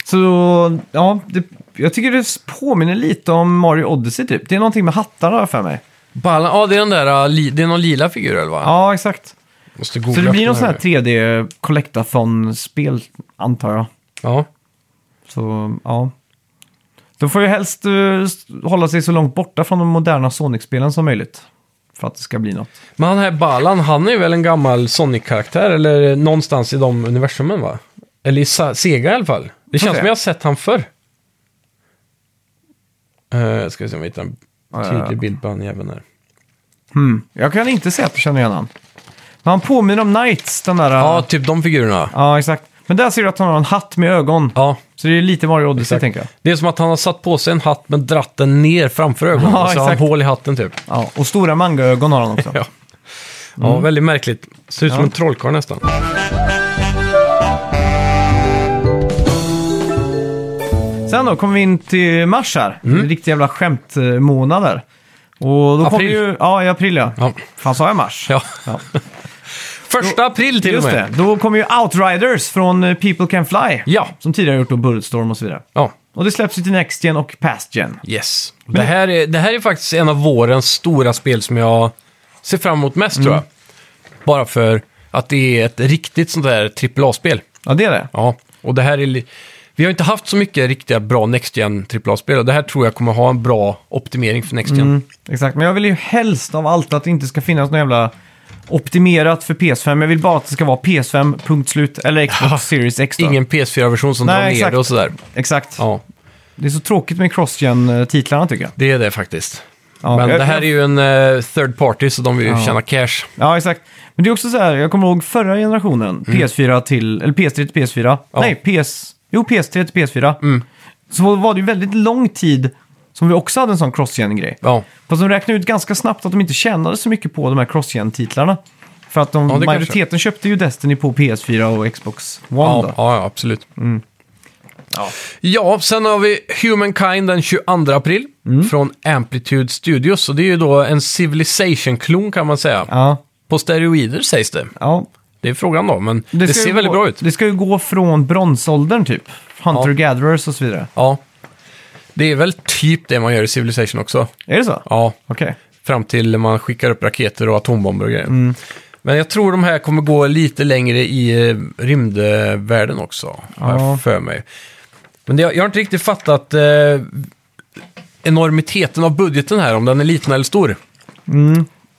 Så, ja, det, jag tycker det påminner lite om Mario Odyssey typ. Det är någonting med hattar har jag för mig. Balan, ja det är den där, uh, li, det är någon lila figur eller vad? Ja, exakt. Måste googla Så det upp blir den någon sån här nu. 3D collectathon-spel, antar jag. Ja. Så, ja. De får ju helst eh, s- hålla sig så långt borta från de moderna Sonic-spelen som möjligt. För att det ska bli något. Men han här Balan, han är väl en gammal Sonic-karaktär, eller någonstans i de universumen va? Eller i Sa- Sega i alla fall. Det känns se. som jag har sett han förr. Uh, ska vi se om vi hittar en Ja, ja, ja. tydlig bild på han jäveln här. Hmm. Jag kan inte säga att jag känner igen han. Men han påminner om Knights, den där... Ja, Ja, typ de figurerna. ja exakt. Men där ser du att han har en hatt med ögon. Ja. Så det är lite Mario Odyssey, Exakt. tänker jag. Det är som att han har satt på sig en hatt men dratt den ner framför ögonen. Ja, så har han exakt. hål i hatten typ. Ja, och stora mangaögon har han också. Ja. ja, väldigt märkligt. Ser ut som Mm. Ja. en trollkarl nästan. Sen då kommer vi in till mars här. Mm. Riktig jävla skämtmånader. Och då kommer April. ju... Ja, i april ja. Ja. Fan, sa jag mars? Ja. Ja. Första april till Just och med. det. Då kommer ju Outriders från eh, People Can Fly. Ja. Som tidigare gjort då Bulletstorm och så vidare. Ja. Och det släpps ju till Next Gen och Past Gen. Yes. Det här, är, det här är faktiskt en av vårens stora spel som jag ser fram emot mest, tror jag. Mm. Bara för att det är ett riktigt sånt där AAA-spel. Ja, det är det. Ja, och det här är... li- Vi har inte haft så mycket riktiga bra Next Gen AAA-spel och det här tror jag kommer ha en bra optimering för Next Gen. Mm, Exakt, men jag vill ju helst av allt att det inte ska finnas något jävla optimerat för PS5. Jag vill bara att det ska vara PS5, punkt slut, eller Xbox Series X. då. Ingen PS4-version som Nej, drar ner exakt. det och sådär. Exakt. Ja, Det är så tråkigt med cross-gen-titlarna tycker jag. det är det faktiskt. Ja, Men jag- det här är ju en eh, third party så de vill ju Ja. tjäna cash. Ja, exakt. Men det är också så här, jag kommer ihåg förra generationen, PS4 till, eller PS3 till PS4. Mm. Ja. Mm. Nej, PS, jo, PS3 till PS4. Så var det ju väldigt lång tid som vi också hade en sån cross-gen-grej. Ja, Fast de räknade ut ganska snabbt att de inte tjänade så mycket på de här cross-gen-titlarna. För att de, Ja, det majoriteten köpte ju Destiny på PS4 och Xbox One. ja, då. ja, ja absolut. Ja. Ja, sen har vi Humankind den 22 april från Amplitude Studios. Och det är ju då en Civilization-klon kan man säga. Ja. På steroider sägs det. ja. Det är frågan då, men det, ska ser ju väldigt gå, bra ut. Det ska ju gå från bronsåldern typ. Ja. Hunter-gatherers och så vidare. Ja. Det är väl typ det man gör i Civilization också. Är det så? Ja, Okej. fram till man skickar upp raketer och atombomber och grejer. Men jag tror de här kommer gå lite längre i eh, rymdvärlden också, har Ja. jag för mig. Men det, jag har inte riktigt fattat eh, enormiteten av budgeten här, om den är liten eller stor.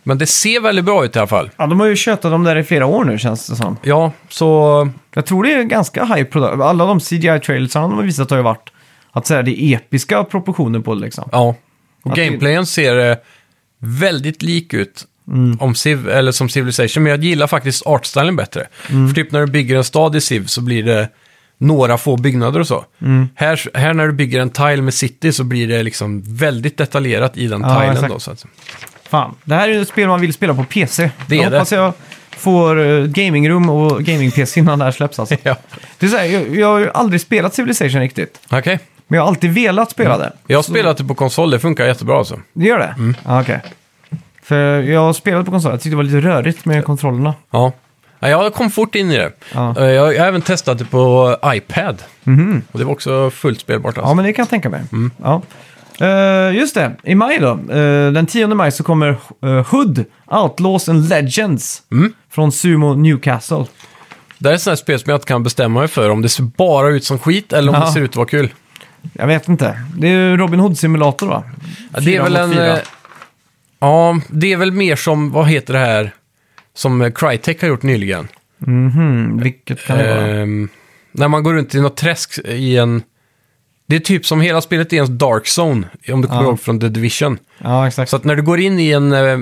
Men det ser väldigt bra ut i alla fall. Ja, de har ju tjötat om det här i flera år nu känns det som. Ja, så Jag tror det är ganska high product. Alla de CGI-trailersarna de har visat har ju varit att säga, det är episka proportioner på det liksom. ja. Och Att det- gameplayen ser eh, väldigt lik ut Mm. om Civ, eller som Civilization, men jag gillar faktiskt artstylen bättre. Mm. För typ när du bygger en stad i Civ så blir det några få byggnader och så. Mm. Här, här när du bygger en tile med city så blir det liksom väldigt detaljerat i den Ja, tilen exakt. då. Så att, Fan, det här är ju ett spel man vill spela på PC. Det jag är det. hoppas jag får eh, gamingrum och gaming-PC innan det här släpps alltså. ja. Det är så här, jag, jag har ju aldrig spelat Civilization riktigt. Okej. Men jag har alltid velat spela det. Jag har spelat det på konsol, det funkar jättebra alltså. Det gör det? Ja, okej. För jag har spelat på konsol, jag tyckte det var lite rörigt med kontrollerna. Ja. Ja, Jag kom fort in i det. Ja. Mhm. Eh, Jag jag har även testat det på iPad. Och det var också fullt spelbart. Alltså. Ja, men det kan jag tänka mig. Ja. Eh, just det, i maj då. eh, den 10 maj så kommer eh, Hood, Outlaws and Legends Mm. från Sumo Newcastle. Det här är sådana spel som jag inte kan bestämma mig för. Om det ser bara ut som skit eller om Ja. det ser ut att vara kul. Jag vet inte. Det är ju Robin Hood-simulator va? Ja, det är Fyra väl mot en... fyra. eh, Ja, det är väl mer som, vad heter det här, som eh, Crytek har gjort nyligen. Mhm, vilket kan det vara? Ehm, när man går runt i något träsk i en... Det är typ som hela spelet är en dark zone, om du kommer Ja. ihåg från The Division. Ja, exakt. Så att när du går in i en... eh,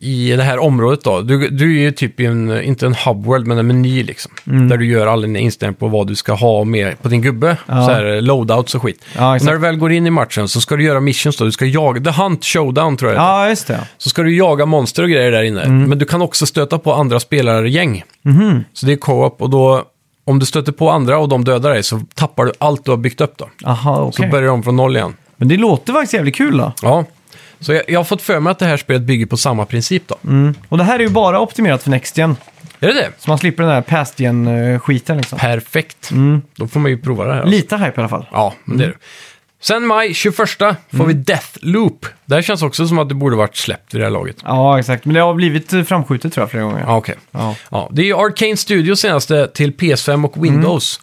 I det här området då, du, du är ju typ i en, inte en hubworld, men en meny liksom. Mm. Där du gör alla dina inställningar på vad du ska ha med på din gubbe. Ja. Så här eh, loadouts och skit. Ja, och exakt. när du väl går in i matchen så ska du göra missions då. Du ska jaga, The Hunt Showdown tror jag det heter. ja, Mm. just det. Så ska du jaga monster och grejer där inne. Men du kan också stöta på andra spelargäng. Mhm. Så det är co-op och då, om du stöter på andra och de dödar dig så tappar du allt du har byggt upp då. Aha, Så okej. börjar du om från noll igen. Men det låter faktiskt jävligt kul då. Ja, så jag, jag har fått för mig att det här spelet bygger på samma princip då. Och det här är ju bara optimerat för Next Gen. Är det det? Så man slipper den där past gen-skiten liksom. Perfekt. Då får man ju prova det här. alltså. Lite hype i alla fall. Ja, men det är det. Sen maj 21 får vi Deathloop. Det här känns också som att det borde varit släppt vid det här laget. Ja, exakt. Men det har blivit eh, framskjutet tror jag flera gånger. Ja, okej. Ja. Ja, det är ju Arcane Studios senaste till PS5 och Windows.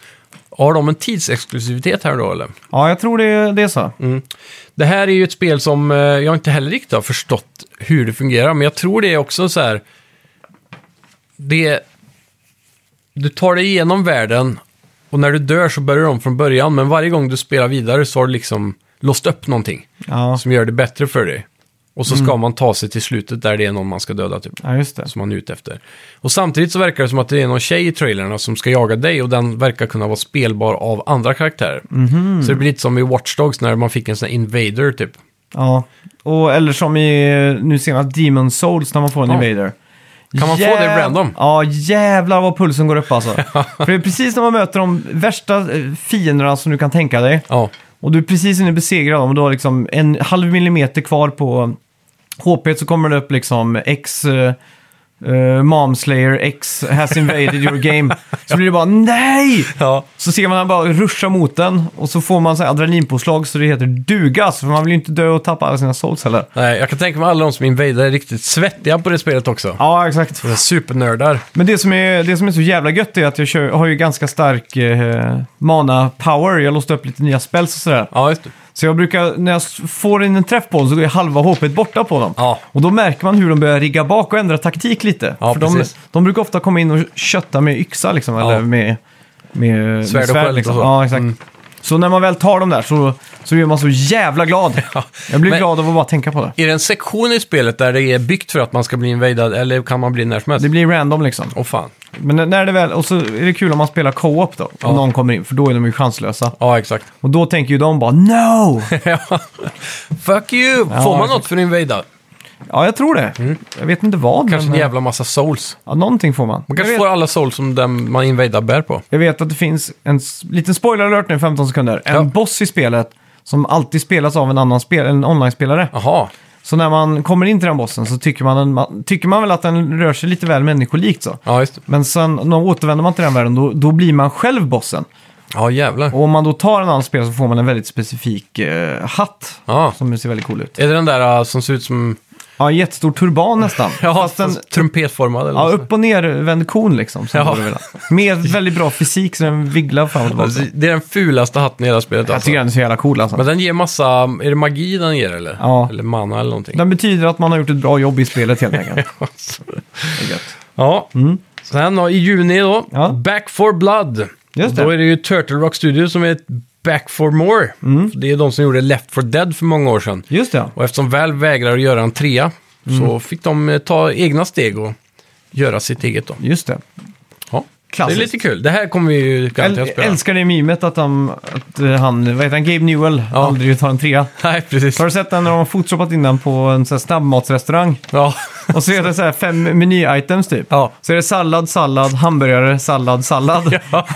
Har de en tidsexklusivitet här då eller? Ja, jag tror det, det är så. Mm. Det här är ju ett spel som eh, jag inte heller riktigt har förstått hur det fungerar, men jag tror det är också så här... Det... Du tar dig igenom världen och när du dör så börjar du om från början, men varje gång du spelar vidare så har du liksom låst upp någonting Ja, Mm. som gör det bättre för dig. Och så ska man ta sig till slutet där det är någon man ska döda typ ja just det. som han är ute efter. Och samtidigt så verkar det som att det är någon tjej i trailerna som ska jaga dig och den verkar kunna vara spelbar av andra karaktärer. Mhm. Så det blir lite som i Watch Dogs när man fick en sån här invader typ. Ja. Och, eller som i eh, nu senast Demon Souls när man får en Ja. invader. Kan man få Jäv- det random? Ja, jävlar vad pulsen går upp alltså. För det är precis när man möter de värsta eh, fienderna som du kan tänka dig. Ja, Och du är precis inne och besegrar dem och du har liksom en halv millimeter kvar på HP så kommer det upp liksom X eh, eh, Momslayer X has invaded your game. Så blir det bara nej! ja. Så ser man han bara ruscha mot den och så får man så här adrenalinpåslag så det heter duga. Alltså, för man vill ju inte dö och tappa alla sina souls heller. Nej, jag kan tänka mig alla de som invader är riktigt svettiga på det spelet också. Ja, exakt. Supernördar. Men det som är, det som är så jävla gött är att jag kör, har ju ganska stark eh, mana-power. Jag låste upp lite nya spells och sådär. Ja, just det. Så jag brukar, när jag s- får in en träff på dem så går ju halva HP borta på dem. Ja. Och då märker man hur de börjar rigga bak och ändra taktik lite. Ja, För de, precis. de brukar ofta komma in och kötta med yxa liksom, Ja. eller med, med Svärd med och sköld och liksom. så. Mm. Ja, exakt. Så när man väl tar dem där så, så blir man så jävla glad. Jag blir Men- glad av att bara tänka på det. Är det en sektion i spelet där det är byggt för att man ska bli invadad eller kan man bli när som helst? Det blir random liksom. Åh fan. Men när det väl, och så är det kul om man spelar co-op då, om någon kommer in, för då är de ju chanslösa. Ja, exakt. Och då tänker ju de bara “No!” Fuck you! Får man exakt. något för att invada? Ja, jag tror det. Jag vet inte vad. Mm. Kanske en men, jävla massa souls. ja, någonting får man. Man Jag kanske vet, får alla souls som den man invadar bär på. jag vet att det finns en s- liten spoiler alert nu, 15 sekunder. En Ja. boss i spelet som alltid spelas av en annan spel, en online-spelare. Jaha. Så när man kommer in till den bossen så tycker man, en, man, tycker man väl att den rör sig lite väl människolikt så. Ja, just det. Men sen när man återvänder man till den världen då, då blir man själv bossen. Ja, jävlar. Och om man då tar en annan spelare så får man en väldigt specifik eh, hatt. Ja. Som ser väldigt cool ut. Är det den där äh, som ser ut som... Ja, en jättestor turban nästan. Ja, Fast en, fast trumpetformad eller ja, något upp och nervänd kon liksom. Som Ja. borde vilja. Med väldigt bra fysik så den vinglar fram och tillbaka. Alltså, det är den fulaste hatten i hela spelet Jag alltså. tycker den är så jävla cool alltså. Men den ger massa, är det magi den ger eller? Ja. Eller mana eller någonting? Den betyder att man har gjort ett bra jobb i spelet helt enkelt. alltså. Det är gött. ja. Sen då, i juni då, Mm. Ja. Back for Blood. Just Då det. är det ju Turtle Rock Studios som är ett Back for More. Mm. Det är de som gjorde Left for Dead för många år sedan. Just det, ja. Och eftersom väl vägrar att göra en trea Mm. så fick de eh, ta egna steg och göra sitt eget då. Just det. Ja. Klassiskt. Det är lite kul. Det här kommer vi ju garanterat Äl- spela. älskar det mimet att han, att eh, han, vad heter han, Gabe Newell, Ja. aldrig tar en trea. Nej, precis. Har du sett den när de har photoshoppat in den på en sån här snabbmatsrestaurang? Ja. Och så är det så här fem meny-items typ. Ja. Så är det sallad, sallad, hamburgare, sallad, sallad.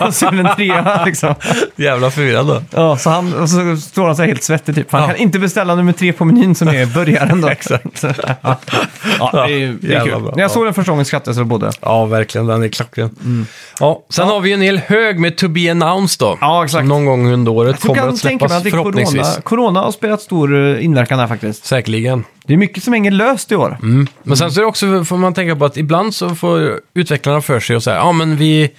Och så är det en trea liksom. Jävla förvirrad då. Ja, så, han, och så står han så här helt svettig typ. Han Ja. kan inte beställa nummer tre på menyn som är burgaren då. Exakt. Ja, det är, det är Jävla kul. bra. När jag Ja. såg den första gången skrattade jag så jag både. Ja, verkligen. Den är klockren. Ja, Mm. sen har vi ju en hel hög med To Be Announced då. Ja, exakt. Som någon gång under året Så kommer kan att tänka mig släppas att det är förhoppningsvis. corona, corona har spelat stor eh, inverkan här faktiskt. Säkerligen. Det är mycket som hänger löst i år. Mm. Men sen så är det också, får man tänka på att ibland så får utvecklarna för sig och säga ja men vi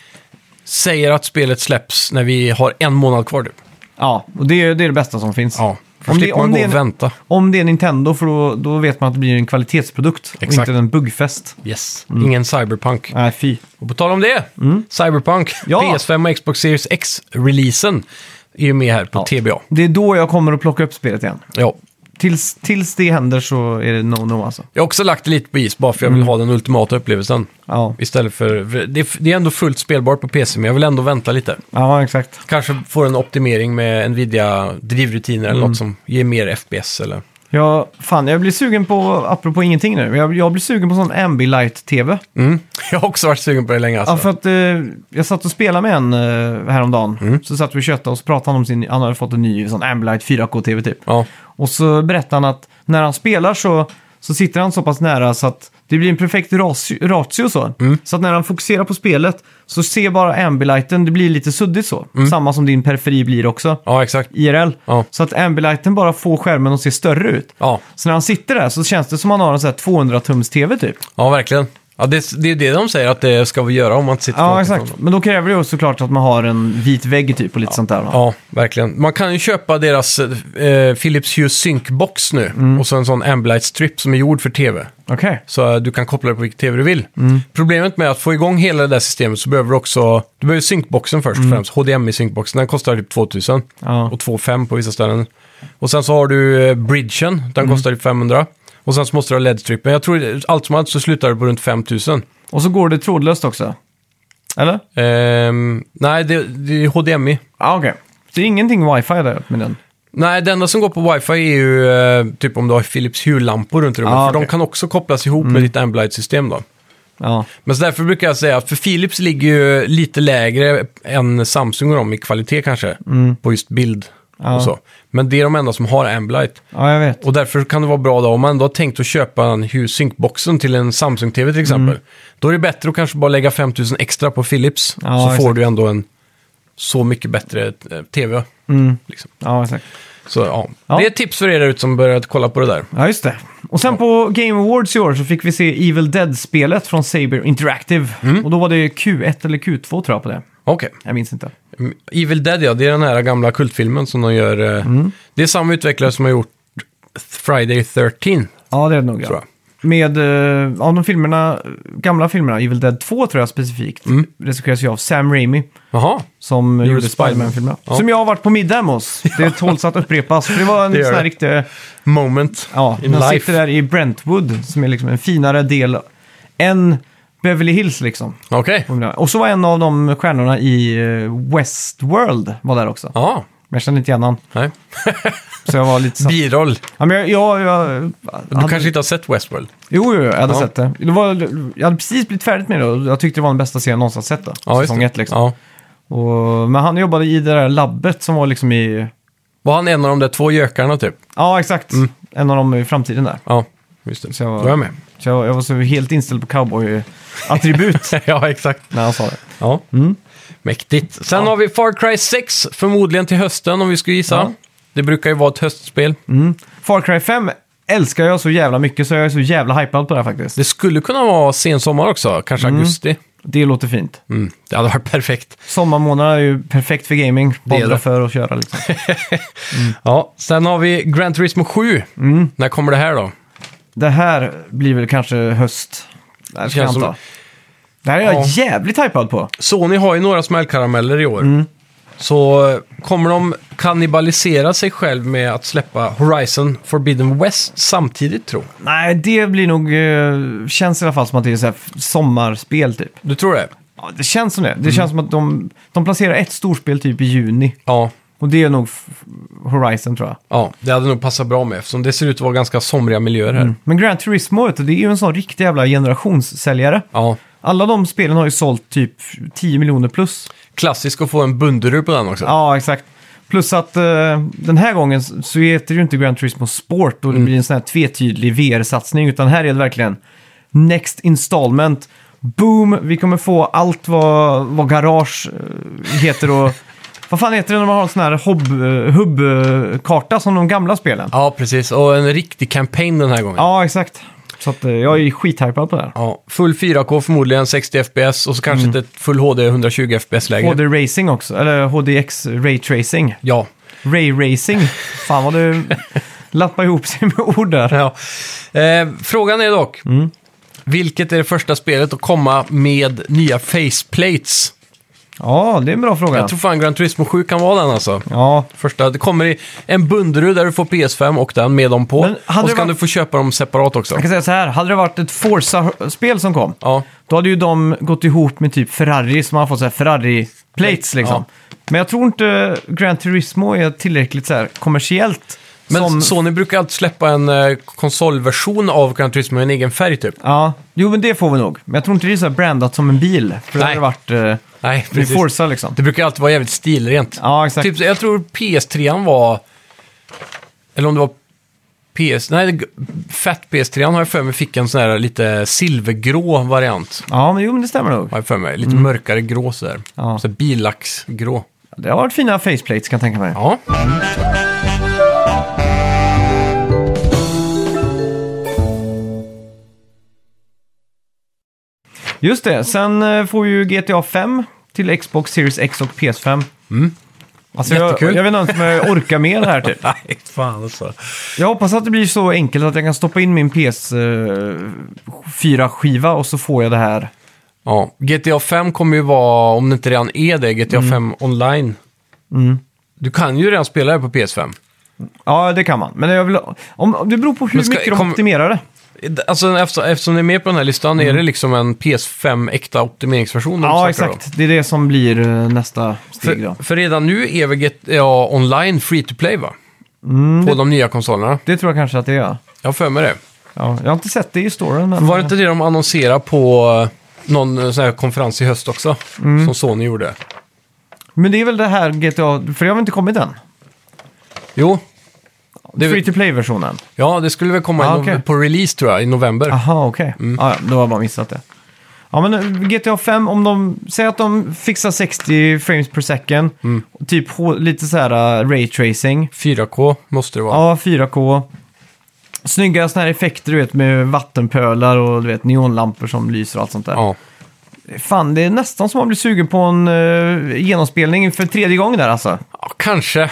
säger att spelet släpps när vi har en månad kvar typ. Ja, och det är det, är det bästa som finns. Ja, för Om det- slipper man om gå det är och en- vänta. Om det är Nintendo, för då, då vet man att det blir en kvalitetsprodukt och Exakt. inte en buggfest. Yes. Ingen Cyberpunk. Nej, fy. Och på tal om det, Cyberpunk, Mm. Ja. PS5 och Xbox Series X-releasen är ju med här på TBA. Det är då jag kommer att plocka upp spelet igen. Ja. Tills, tills det händer så är det no-no alltså. Jag har också lagt det lite på is bara för jag Mm. vill ha den ultimata upplevelsen. Ja, Istället för, för det, det är ändå fullt spelbart på PC, men jag vill ändå vänta lite. ja exakt. Kanske får en optimering med Nvidia-drivrutiner Mm. eller något som ger mer FPS eller... Jag, fan, jag blir sugen på, apropå ingenting nu, jag, jag blir sugen på sån Ambilight-TV. Mm. Jag har också varit sugen på det länge alltså. Ja, för att eh, jag satt och spelade med en eh, häromdagen. Så satt vi och tjötade och så pratade han om sin, han hade fått en ny sån Ambilight 4K-TV typ. Ja. Och så berättar han att när han spelar så, så sitter han så pass nära så att det blir en perfekt ras- ratio så. Så att när han fokuserar på spelet så ser bara ambilighten, det blir lite suddigt så. Samma som din periferi blir också. ja, exakt. IRL. Ja. Så att ambilighten bara får skärmen att se större ut. Ja, Så när han sitter där så känns det som att han har en sån här 200-tums-TV typ. ja verkligen. Ja, det, det är det de säger att det ska vi göra om man inte sitter Ja, långt exakt. ifrån dem. Men då kräver det ju såklart att man har en vit vägg typ och lite sånt där. va? Ja, verkligen. Man kan ju köpa deras eh, Philips Hue Sync-box nu och så en sån Ambilight-strip som är gjord för TV. Okej. Så eh, du kan koppla det på vilken TV du vill. Problemet med att få igång hela det där systemet så behöver du också... Du behöver synkboxen först och främst. HDMI-synkboxen. Den kostar typ 2000 Ja. och 2500 på vissa ställen. Och sen så har du eh, bridgen. Den kostar typ 500. Och sen så måste du ha LED-strippen. Jag tror eh, allt som allt så slutar det på runt 5000. Och så går det trådlöst också. Eller? Ehm, nej, det, det är HDMI. Ja, okej. Så det är ingenting wifi där med den? Nej, det enda som går på wifi är ju eh, typ om du har Philips Hue-lampor runt rummet. Ah, för de okej. Mm. kan också kopplas ihop med ditt Ambilight-system då. Ja. Men så därför brukar jag säga att för Philips ligger ju lite lägre än Samsung och dem i kvalitet kanske. På just bild Mm. Ja. och så. Men det är de enda som har Ambilight. Ja, jag vet. Och därför kan det vara bra då om man ändå har tänkt att köpa en Hue Sync-boxen till en Samsung-TV Mm. till exempel. Då är det bättre att kanske bara lägga 5000 extra på Philips. Ja, så får exakt. du ändå en så mycket bättre eh, TV. Mm. Liksom. Ja, exakt. Så ja. Ja. det är ett tips för er där ute som börjat kolla på det där. Ja, just det. Och sen på Game Awards i år så fick vi se Evil Dead-spelet från Saber Interactive. Mm. Och då var det Q1 eller Q2 tror jag på det. Okej. Jag minns inte. Mm, Evil Dead, ja. Det är den här gamla kultfilmen som de gör. eh, Mm. Det är samma utvecklare som har gjort Friday 13, Ja, det är det nog. tror Ja. jag. Med, eh, ja, de filmerna, gamla filmerna, Evil Dead 2 tror jag specifikt, regisseras ju av Sam Raimi. Jaha. Som Mm. Gjorde gjorde Spiderman-filmerna. Spiderman. Ja. Som jag har varit på middag hemma hos. Det tåls att upprepas. För det var en Det gör sån här det. riktig... Moment Ja, in man life. sitter där i Brentwood som är liksom en finare del än Beverly Hills liksom. Okej. Och så var en av de stjärnorna i eh, Westworld var där också. Ja. Men jag kände inte igen han. Nej. Så jag var lite satt. Biroll. Ja, men jag, jag, jag Du hade, kanske inte har sett Westworld? Jo, jo, jag hade Ja. sett det. det var, jag hade precis blivit färdigt med det och jag tyckte det var den bästa serien jag någonsin sett. Då, just säsong det. ett liksom. Ja. Och, men han jobbade i det där labbet som var liksom i... Var han en av de där två gökarna typ? Ja, exakt. En av dem i framtiden där. Ja, just det. Så jag var- Då är jag med. Så jag, jag var så helt inställd på cowboy-attribut ja, exakt. när han sa det. Ja. Mm. Mäktigt. Sen har vi Far Cry 6, förmodligen till hösten om vi skulle gissa. Ja. Det brukar ju vara ett höstspel. Far Cry 5 älskar jag så jävla mycket så jag är så jävla hypad på det här faktiskt. Det skulle kunna vara sensommar också, kanske augusti. Det låter fint. Mm. Det hade varit perfekt. Sommarmånaderna är ju perfekt för gaming. är Badra det. för och köra liksom. Ja, sen har vi Gran Turismo 7. När kommer det här då? Det här blir väl kanske höst. Det här ska jag Känns som- anta. Det här är jag Ja. jävligt hypad på. Sony har ju några smällkarameller i år. Så eh, kommer de kannibalisera sig själv med att släppa Horizon Forbidden West samtidigt tror jag. Nej, det blir nog... eh, Känns i alla fall som att det är så här f- sommarspel typ. Du tror det? Ja, det känns som det. Det känns som att de, de placerar ett storspel typ i juni. Ja. Och det är nog f- Horizon tror jag. Ja, det hade nog passat bra med eftersom det ser ut att vara ganska somriga miljöer här. Men Gran Turismo, vet du, det är ju en sån riktig jävla generationssäljare. Ja, Alla de spelen har ju sålt typ 10 miljoner plus. klassisk att få en bunderur på den också. Ja, exakt. Plus att eh, den här gången så heter det ju inte Gran Turismo Sport och det blir en sån här tvetydlig VR-satsning. Utan här är det verkligen Next Installment. Boom! Vi kommer få allt vad, vad garage eh, heter och... vad fan heter det när man har en sån här hub-karta som de gamla spelen? Ja, Ja, precis. Och en riktig kampanj den här gången. Ja. exakt. Så att, eh, jag är skithypad på det här. full 4K förmodligen, 60 FPS och så kanske Mm. inte ett full HD 120 FPS-läge. HD Racing också, eller HDX Ray Tracing. Ja. Ray Racing. Fan vad du lappar ihop sig med ord där. ja. Eh, frågan är dock, Mm. vilket är det första spelet att komma med nya faceplates? Ja, det är en bra fråga. Jag tror fan Gran Turismo 7 kan vara den alltså. Ja, Första, det kommer i en bunderur där du får PS5 och den med dem på. Men hade Och det så kan varit- du få köpa dem separat också. jag kan säga så här. Hade det varit ett Forza-spel som kom, Ja. då hade ju de gått ihop med typ Ferrari, så man har fått så här Ferrari-plates liksom. Men jag tror inte Gran Turismo är tillräckligt så här kommersiellt. Men som... Sony brukar alltid släppa en eh, konsolversion av Gran Turismo med en egen färg typ. Ja, jo men det får vi nog. Men jag tror inte det är så här brandat som en bil. För det Nej. hade varit eh, Nej, det är precis. Forza liksom. Det brukar alltid vara jävligt stilrent. Ja, exakt. Typ, jag tror PS3 var... Eller om det var PS... Nej, det- Fat PS3 har jag för mig fick en sån här lite silvergrå variant. Ja, men jo men det stämmer nog. Har jag för mig. Lite mörkare grå sådär. Mm. Ja. Så bilaxgrå. Det har varit fina faceplates kan jag tänka mig. Ja. Just det, sen eh, får ju GTA 5 till Xbox Series X och PS5. Alltså, jag, Mm. Jättekul. jag vet inte om jag orkar med det här typ. Nej, fan alltså. Jag hoppas att det blir så enkelt att jag kan stoppa in min PS4-skiva och så får jag det här. Ja, GTA 5 kommer ju vara, om det inte redan är det, GTA Mm. 5 online. Du kan ju redan spela det på PS5. Ja, det kan man. Men jag vill, om, om- det beror på hur Men ska- mycket de kommer- optimerar det. Alltså, eftersom, eftersom ni är med på den här listan, är det liksom en PS5-äkta optimeringsversion? de Mm. Ja, snackar om? exakt. Det är det som blir eh, nästa steg då. För, för redan nu är väl GTA Online free to play, va? Mm. på de nya konsolerna. Det tror jag kanske att det är. Jag har för mig det. Ja, jag har inte sett det i storyn, men... Var det inte det de annonserade på eh, någon eh, sån här konferens i höst också? Mm. Som Sony gjorde. Men det är väl det här GTA... För jag har väl inte kommit än. Jo, Det är väl- Free to play-versionen. ja det skulle väl komma i Ah, no- okej. Ah. på release tror jag, i november. Aha, okej. Ja, ja, då har jag bara missat det. Ja, men eh, GTA 5, om de säger att de fixar 60 frames per second, typ H- lite så här eh, ray tracing, 4K måste det vara. ja, 4K, snygga såna här effekter du vet med vattenpölar och du vet neonlampor som lyser och allt sånt där. Ja. Fan, det är nästan som att man blir sugen på en eh, genomspelning för tredje gången där alltså. Ja, kanske. Det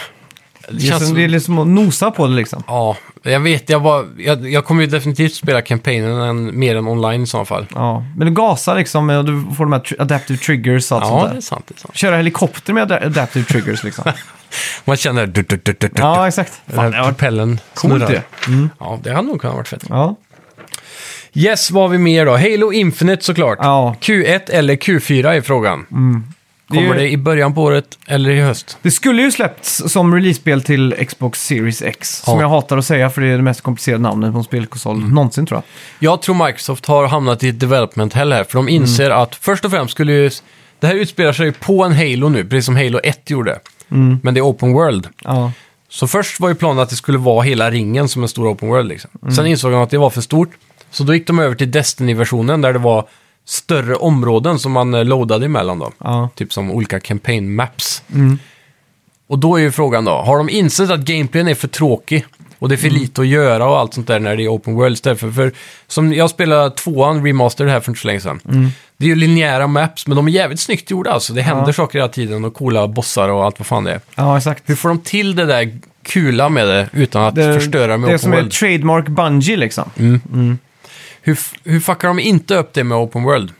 Det, känns känns som... det är liksom att nosa på det liksom. Ja, jag vet. Jag, var, jag, jag kommer ju definitivt spela kampanjen än, mer än online i så fall. Ja, men du gasar liksom och du får de här tr- adaptive triggers och allt Ja, sånt det är där. sant. Det är sant. Köra helikopter med ad- adaptive triggers liksom. Man känner... Du, du, du, du, du, Ja, exakt. den här Fan, det var propellen coolt snurrar. det. Mm. Ja, det hade nog kunnat varit fett. Ja. Yes, vad har vi mer då? Halo Infinite såklart. Ja. Mm. Q1 eller Q4 är frågan. Det är Kommer ju- det i början på året eller i höst? Det skulle ju släppts som release-spel till Xbox Series X. Som Ja. Mm. jag hatar att säga för det är det mest komplicerade namnet på en spelkonsol någonsin tror jag. Jag tror Microsoft har hamnat i ett development hell här, för de Mm. inser att först och främst skulle ju... Det här utspelar sig på en Halo nu, precis som Halo 1 gjorde. Mm. Men det är open world. Ja. Så först var ju planen att det skulle vara hela ringen som en stor open world. Liksom. Mm. Sen insåg de att det var för stort. Så då gick de över till Destiny-versionen där det var större områden som man eh, loadade emellan då. Ja. Mm. Typ som olika campaign maps. Och då är ju frågan då, har de insett att gameplayen är för tråkig? Och det är för Mm. lite att göra och allt sånt där när det är open world istället för... för som jag spelade tvåan, remaster här för inte så länge sedan. Mm. Det är ju linjära maps, men de är jävligt snyggt gjorda alltså. Det händer Ja. saker hela tiden och coola bossar och allt vad fan det är. ja, exakt. Hur får de till det där kula med det utan att förstöra med det är open som är world? Mm. trademark Bungie liksom. Hur, f- hur fuckar de inte upp det med open world?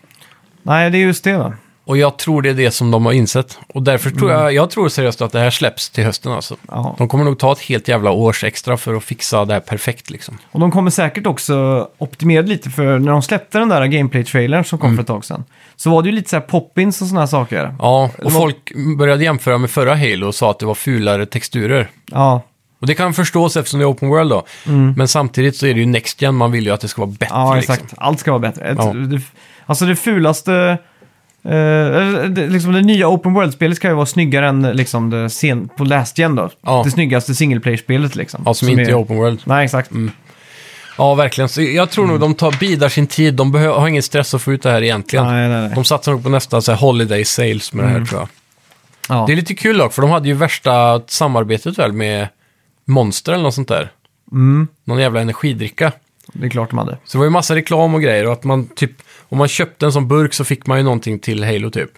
Nej, det är just det va. Och jag tror det är det som de har insett. Och därför tror jag, jag tror seriöst att det här släpps till hösten alltså. Mm. Ja. De kommer nog ta ett helt jävla års extra för att fixa det här perfekt liksom. Och de kommer säkert också optimera lite för när de släppte den där gameplay-trailern som kom för ett tag sedan. Så var det ju lite så här poppins och sådana här saker. Mm. Ja, och var- folk började jämföra med förra Halo och sa att det var fulare texturer. Ja, Och det kan förstås eftersom det är open world då. Men samtidigt så är det ju next gen, man vill ju att det ska vara bättre. Mm. ja liksom. exakt. Allt ska vara bättre. Ett- Ja. Det, alltså det fulaste... eh, eller det, liksom det nya Open World-spelet ska ju vara snyggare än liksom det sen, på Last Gen då. Ja. Det snyggaste single player-spelet liksom. Ja, Alltså, som, inte är open world. Mm. Nej, exakt. Ja, verkligen. Så jag tror Mm. nog de tar, bidar sin tid. De behö- har ingen stress att få ut det här egentligen. Nej, nej, Mm. nej. De satsar nog på nästa så här, holiday sales med det här tror jag. Ja. Det är lite kul dock, för de hade ju värsta samarbetet väl med Monster eller något sånt där. Mm, Någon jävla energidricka. det är klart de hade. Så det var ju massa reklam och grejer och att man typ, om man köpte en sån burk så fick man ju någonting till Halo typ.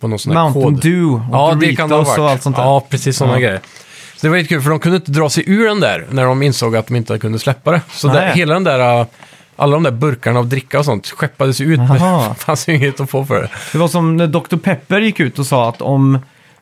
På någon sån här Mm. Mountain kod. Dew och ja, det kan det ha Doritos varit. och allt sånt där. Ja, precis sådana Ja. grejer. Så det var lite kul för de kunde inte dra sig ur den där när de insåg att de inte kunde släppa det. Så där, Nej. hela den där, äh, alla de där burkarna av dricka och sånt skeppades ju ut. men Jaha. Det fanns ju inget att få för det. Det var som när Dr. Pepper gick ut och sa att om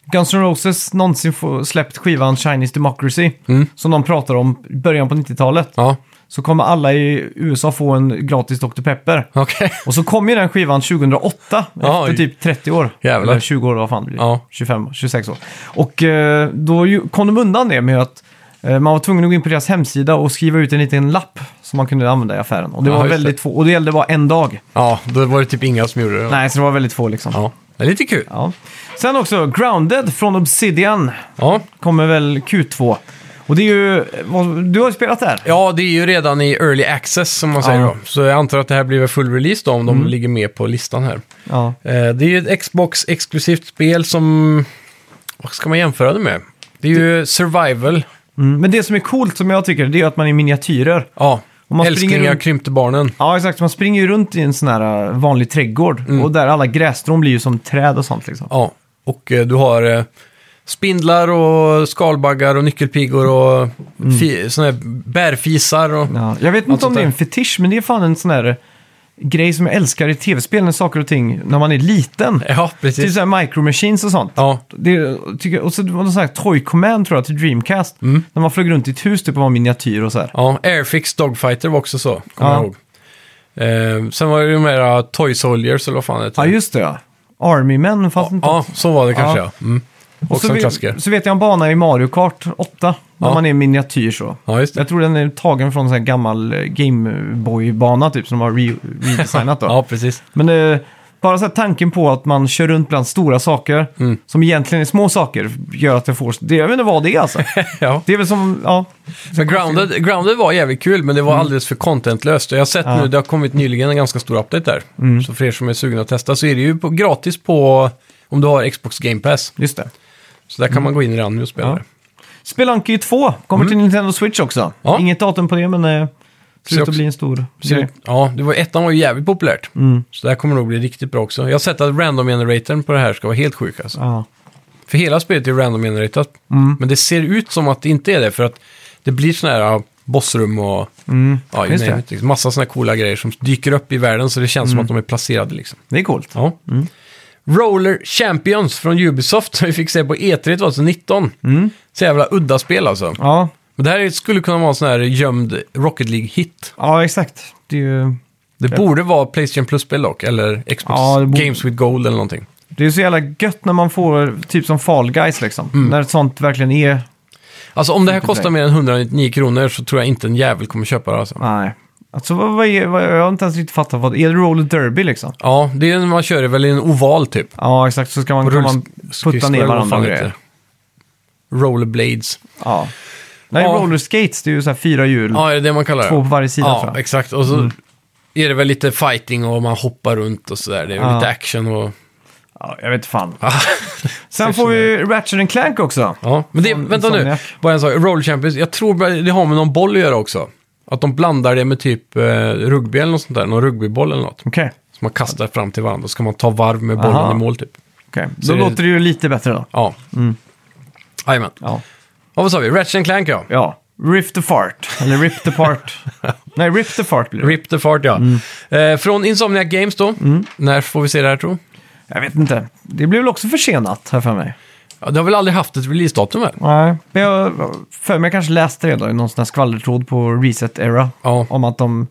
Guns N' Roses någonsin får- släppt skivan Chinese Democracy, Mm. som de pratar om i början på 90-talet, Ja, så kommer alla i USA få en gratis Dr. Pepper. okej. Och så kom ju den skivan 2008, Ja, efter typ 30 år. jävlar. Eller 20 år, vad fan det blir. Ja. 25, 26 år. Och eh, då ju- kom de undan det med att eh, man var tvungen att gå in på deras hemsida och skriva ut en liten lapp som man kunde använda i affären. Och det Ja, var just det. väldigt få, och det gällde bara en dag. Ja, då var det typ inga som gjorde det. Nej, så det var väldigt få liksom. Ja, det är lite kul. Ja. Sen också, Grounded från Obsidian Ja. kommer väl Q2. Och det är ju, vad- du har ju spelat där. ja, det är ju redan i early access som man säger Ja. Mm. då. Så jag antar att det här blir väl full release då om de ligger med på listan här. Ja. Eh, Det är ju ett Xbox-exklusivt spel som... Vad ska man jämföra det med? Det är ju survival. Mm. Men det som är coolt som jag tycker, det är ju att man är miniatyrer. Ja, Om man älskling springer jag runt- krympte barnen. Ja, exakt. Man springer ju runt i en sån här eh, vanlig trädgård. Och där alla grässtrån blir ju som träd och sånt liksom. Mm. Ja, och eh, du har eh, spindlar och skalbaggar och nyckelpigor och mm. såna här bärfisar och... Ja. Jag vet Allt inte om sånt det är där. en fetisch, men det är fan en sån här eh, grej som jag älskar i tv-spel när saker och ting, när man är liten. Ja, Typ precis. så här micro machines och sånt. Ja, Det, tycker, jag- och så var det sån här Toy Command tror jag till Dreamcast. När man flög runt i ett hus typ och var miniatyr och så här. Mm. ja, Airfix Dogfighter var också så, kommer Ja. jag ihåg. Eh, sen var det ju mera Toy Soldiers eller vad fan det heter. Ja, just det ja. Army-män fanns inte. ja, så var det kanske Ja. ja. Mm. Och Också så, en vet, klassiker. så vet jag en bana i Mario Kart 8. När Ja. man är miniatyr så. Ja, just det. Jag tror den är tagen från en sån här gammal eh, Gameboy-bana typ som de har re- redesignat då. Ja, precis. Men eh, bara så här tanken på att man kör runt bland stora saker Mm. som egentligen är små saker gör att jag får... Det, jag vet inte vad det är alltså. Ja. det är väl som, ja, Men Grounded, Grounded var jävligt kul, men det var alldeles för contentlöst. Och Jag har sett Mm. Ja. Mm. nu, det har kommit nyligen en ganska stor update där. Så för er som är sugna att testa så är det ju på, gratis på, om du har Xbox Game Pass. just det. Så där kan man gå in redan nu och spela Mm. Ja. det. Spelunky 2 kommer till Nintendo Switch också. Mm. Ja. Inget datum på det, men eh, ser ut också- att bli en stor Så, grej. Mm. Ja, det var, ettan var ju jävligt populärt. Så det här kommer nog bli riktigt bra också. Jag har sett att random generatorn på det här ska vara helt sjuk alltså. Ja. Mm. För hela spelet är ju random generatorat. Men det ser ut som att det inte är det, för att det blir sådana här bossrum och ja, Mm. just nej, det. Mm. liksom, massa sådana här coola grejer som dyker upp i världen så det känns som att de är placerade liksom. Det är coolt. Ja. Mm. Roller Champions från Ubisoft som vi fick se på E3 2019. Mm. Så jävla udda spel alltså. Ja, Men det här skulle kunna vara en sån här gömd Rocket League-hit. ja exakt. Det är ju... Det borde vara Playstation Plus-spel dock, eller Xbox Ja, det borde- Games with Gold eller någonting. Det är så jävla gött när man får typ som Fall Guys liksom. Mm. När sånt verkligen är... Alltså om det här kostar mer än 199 kronor så tror jag inte en jävel kommer köpa det alltså. Nej. Alltså vad, vad är... Vad, jag har inte ens riktigt fattat vad det är. Är det roller derby liksom? Ja, det är när man kör det väl i en oval typ. Ja, exakt. Så ska man, kan man putta ner varandra och grejer. Rollerblades. Ja. Nej, Ja. roller skates, det är ju så här fyra hjul. Ja, är det det man kallar det? Två på varje sida, Ja, tror jag. Mm. exakt. Och så är det väl lite fighting och man hoppar runt och sådär. Det är Ja. lite action och... Ja, jag vet fan. Sen får vi ju Ratchet and Clank också. Ja, men det, Sån- vänta sån nu. jack. Bara en sak. Roll Champions, jag tror bara det har med någon boll att göra också. Att de blandar det med typ eh, rugby eller något sånt där. Någon rugbyboll eller något. Okej. Som man kastar fram till varandra. Så ska man ta varv med bollen Aha. i mål typ. okej. Så Då det- låter det ju lite bättre då. Ja. Mm. Jajamän. Ja. Ja, vad sa vi? Ratchet and Clank ja. ja. Rift apart. Eller ripped apart. Nej, ripped apart blir det. Rip the fart ja. Mm. Eh, från Insomniac Games då. När får vi se det här tror du? Jag vet inte. Det blev väl också försenat här för mig. Ja, det har väl aldrig haft ett releasedatum väl? Nej. Men jag för mig kanske läste det då i någon sån här skvallertråd på Reset Era. Ja. Om att de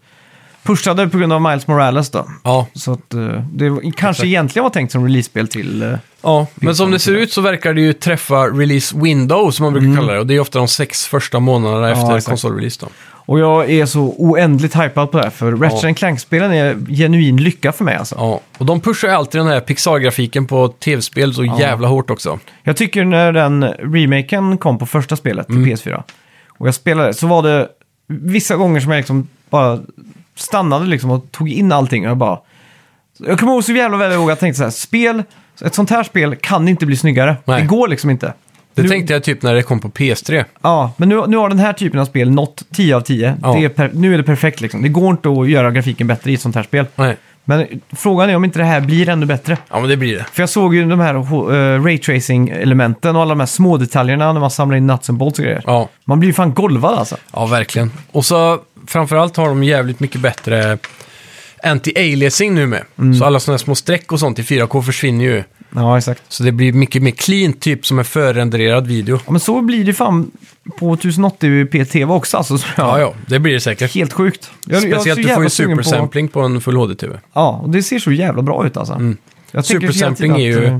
pushade på grund av Miles Morales då. Ja, Så att eh, det var- kanske egentligen var tänkt som release-spel till... eh, ja. men som det ser ut så verkar det ju träffa release window som man brukar kalla det. Och det är ofta de sex första månaderna efter exakt. konsolrelease då. Och jag är så oändligt hypad på det här, för Ratchet Ja. and Clank-spelen är genuin lycka för mig alltså. Ja, och de pushar ju alltid den här Pixar-grafiken på tv-spel så jävla hårt också. Jag tycker när den remaken kom på första spelet Mm. till PS4 och jag spelade så var det vissa gånger som jag liksom bara stannade liksom och tog in allting och jag bara... Jag kommer ihåg så jävla väl ihåg att jag tänkte så här, spel, ett sånt här spel kan inte bli snyggare. Nej. Det går liksom inte. Det Nu- tänkte jag typ när det kom på PS3. Ja, men nu, nu har den här typen av spel nått 10 av 10. Ja. Det är per, nu är det perfekt liksom. Det går inte att göra grafiken bättre i ett sånt här spel. Nej. Men frågan är om inte det här blir ännu bättre. Ja, men det blir det. För jag såg ju de här uh, raytracing-elementen och alla de här små detaljerna när man samlar in nuts and bolts och grejer. Ja, Man blir ju fan golvad alltså. ja verkligen. Och så framförallt har de jävligt mycket bättre anti-aliasing nu med. Så alla sådana små streck och sånt i 4K försvinner ju. Ja, exakt. Så det blir mycket mer clean, typ som en förrenderad video. Ja, men så blir det fan på 1080 p TV också alltså. Så, Ja, ja, det blir det säkert. Helt sjukt. Jag- jag är så Speciellt du jävla får ju sugen på- supersampling på en full HD-TV. Ja, och det ser så jävla bra ut alltså. Jag tänker så hela tiden Mm. Supersampling är ju att, eh,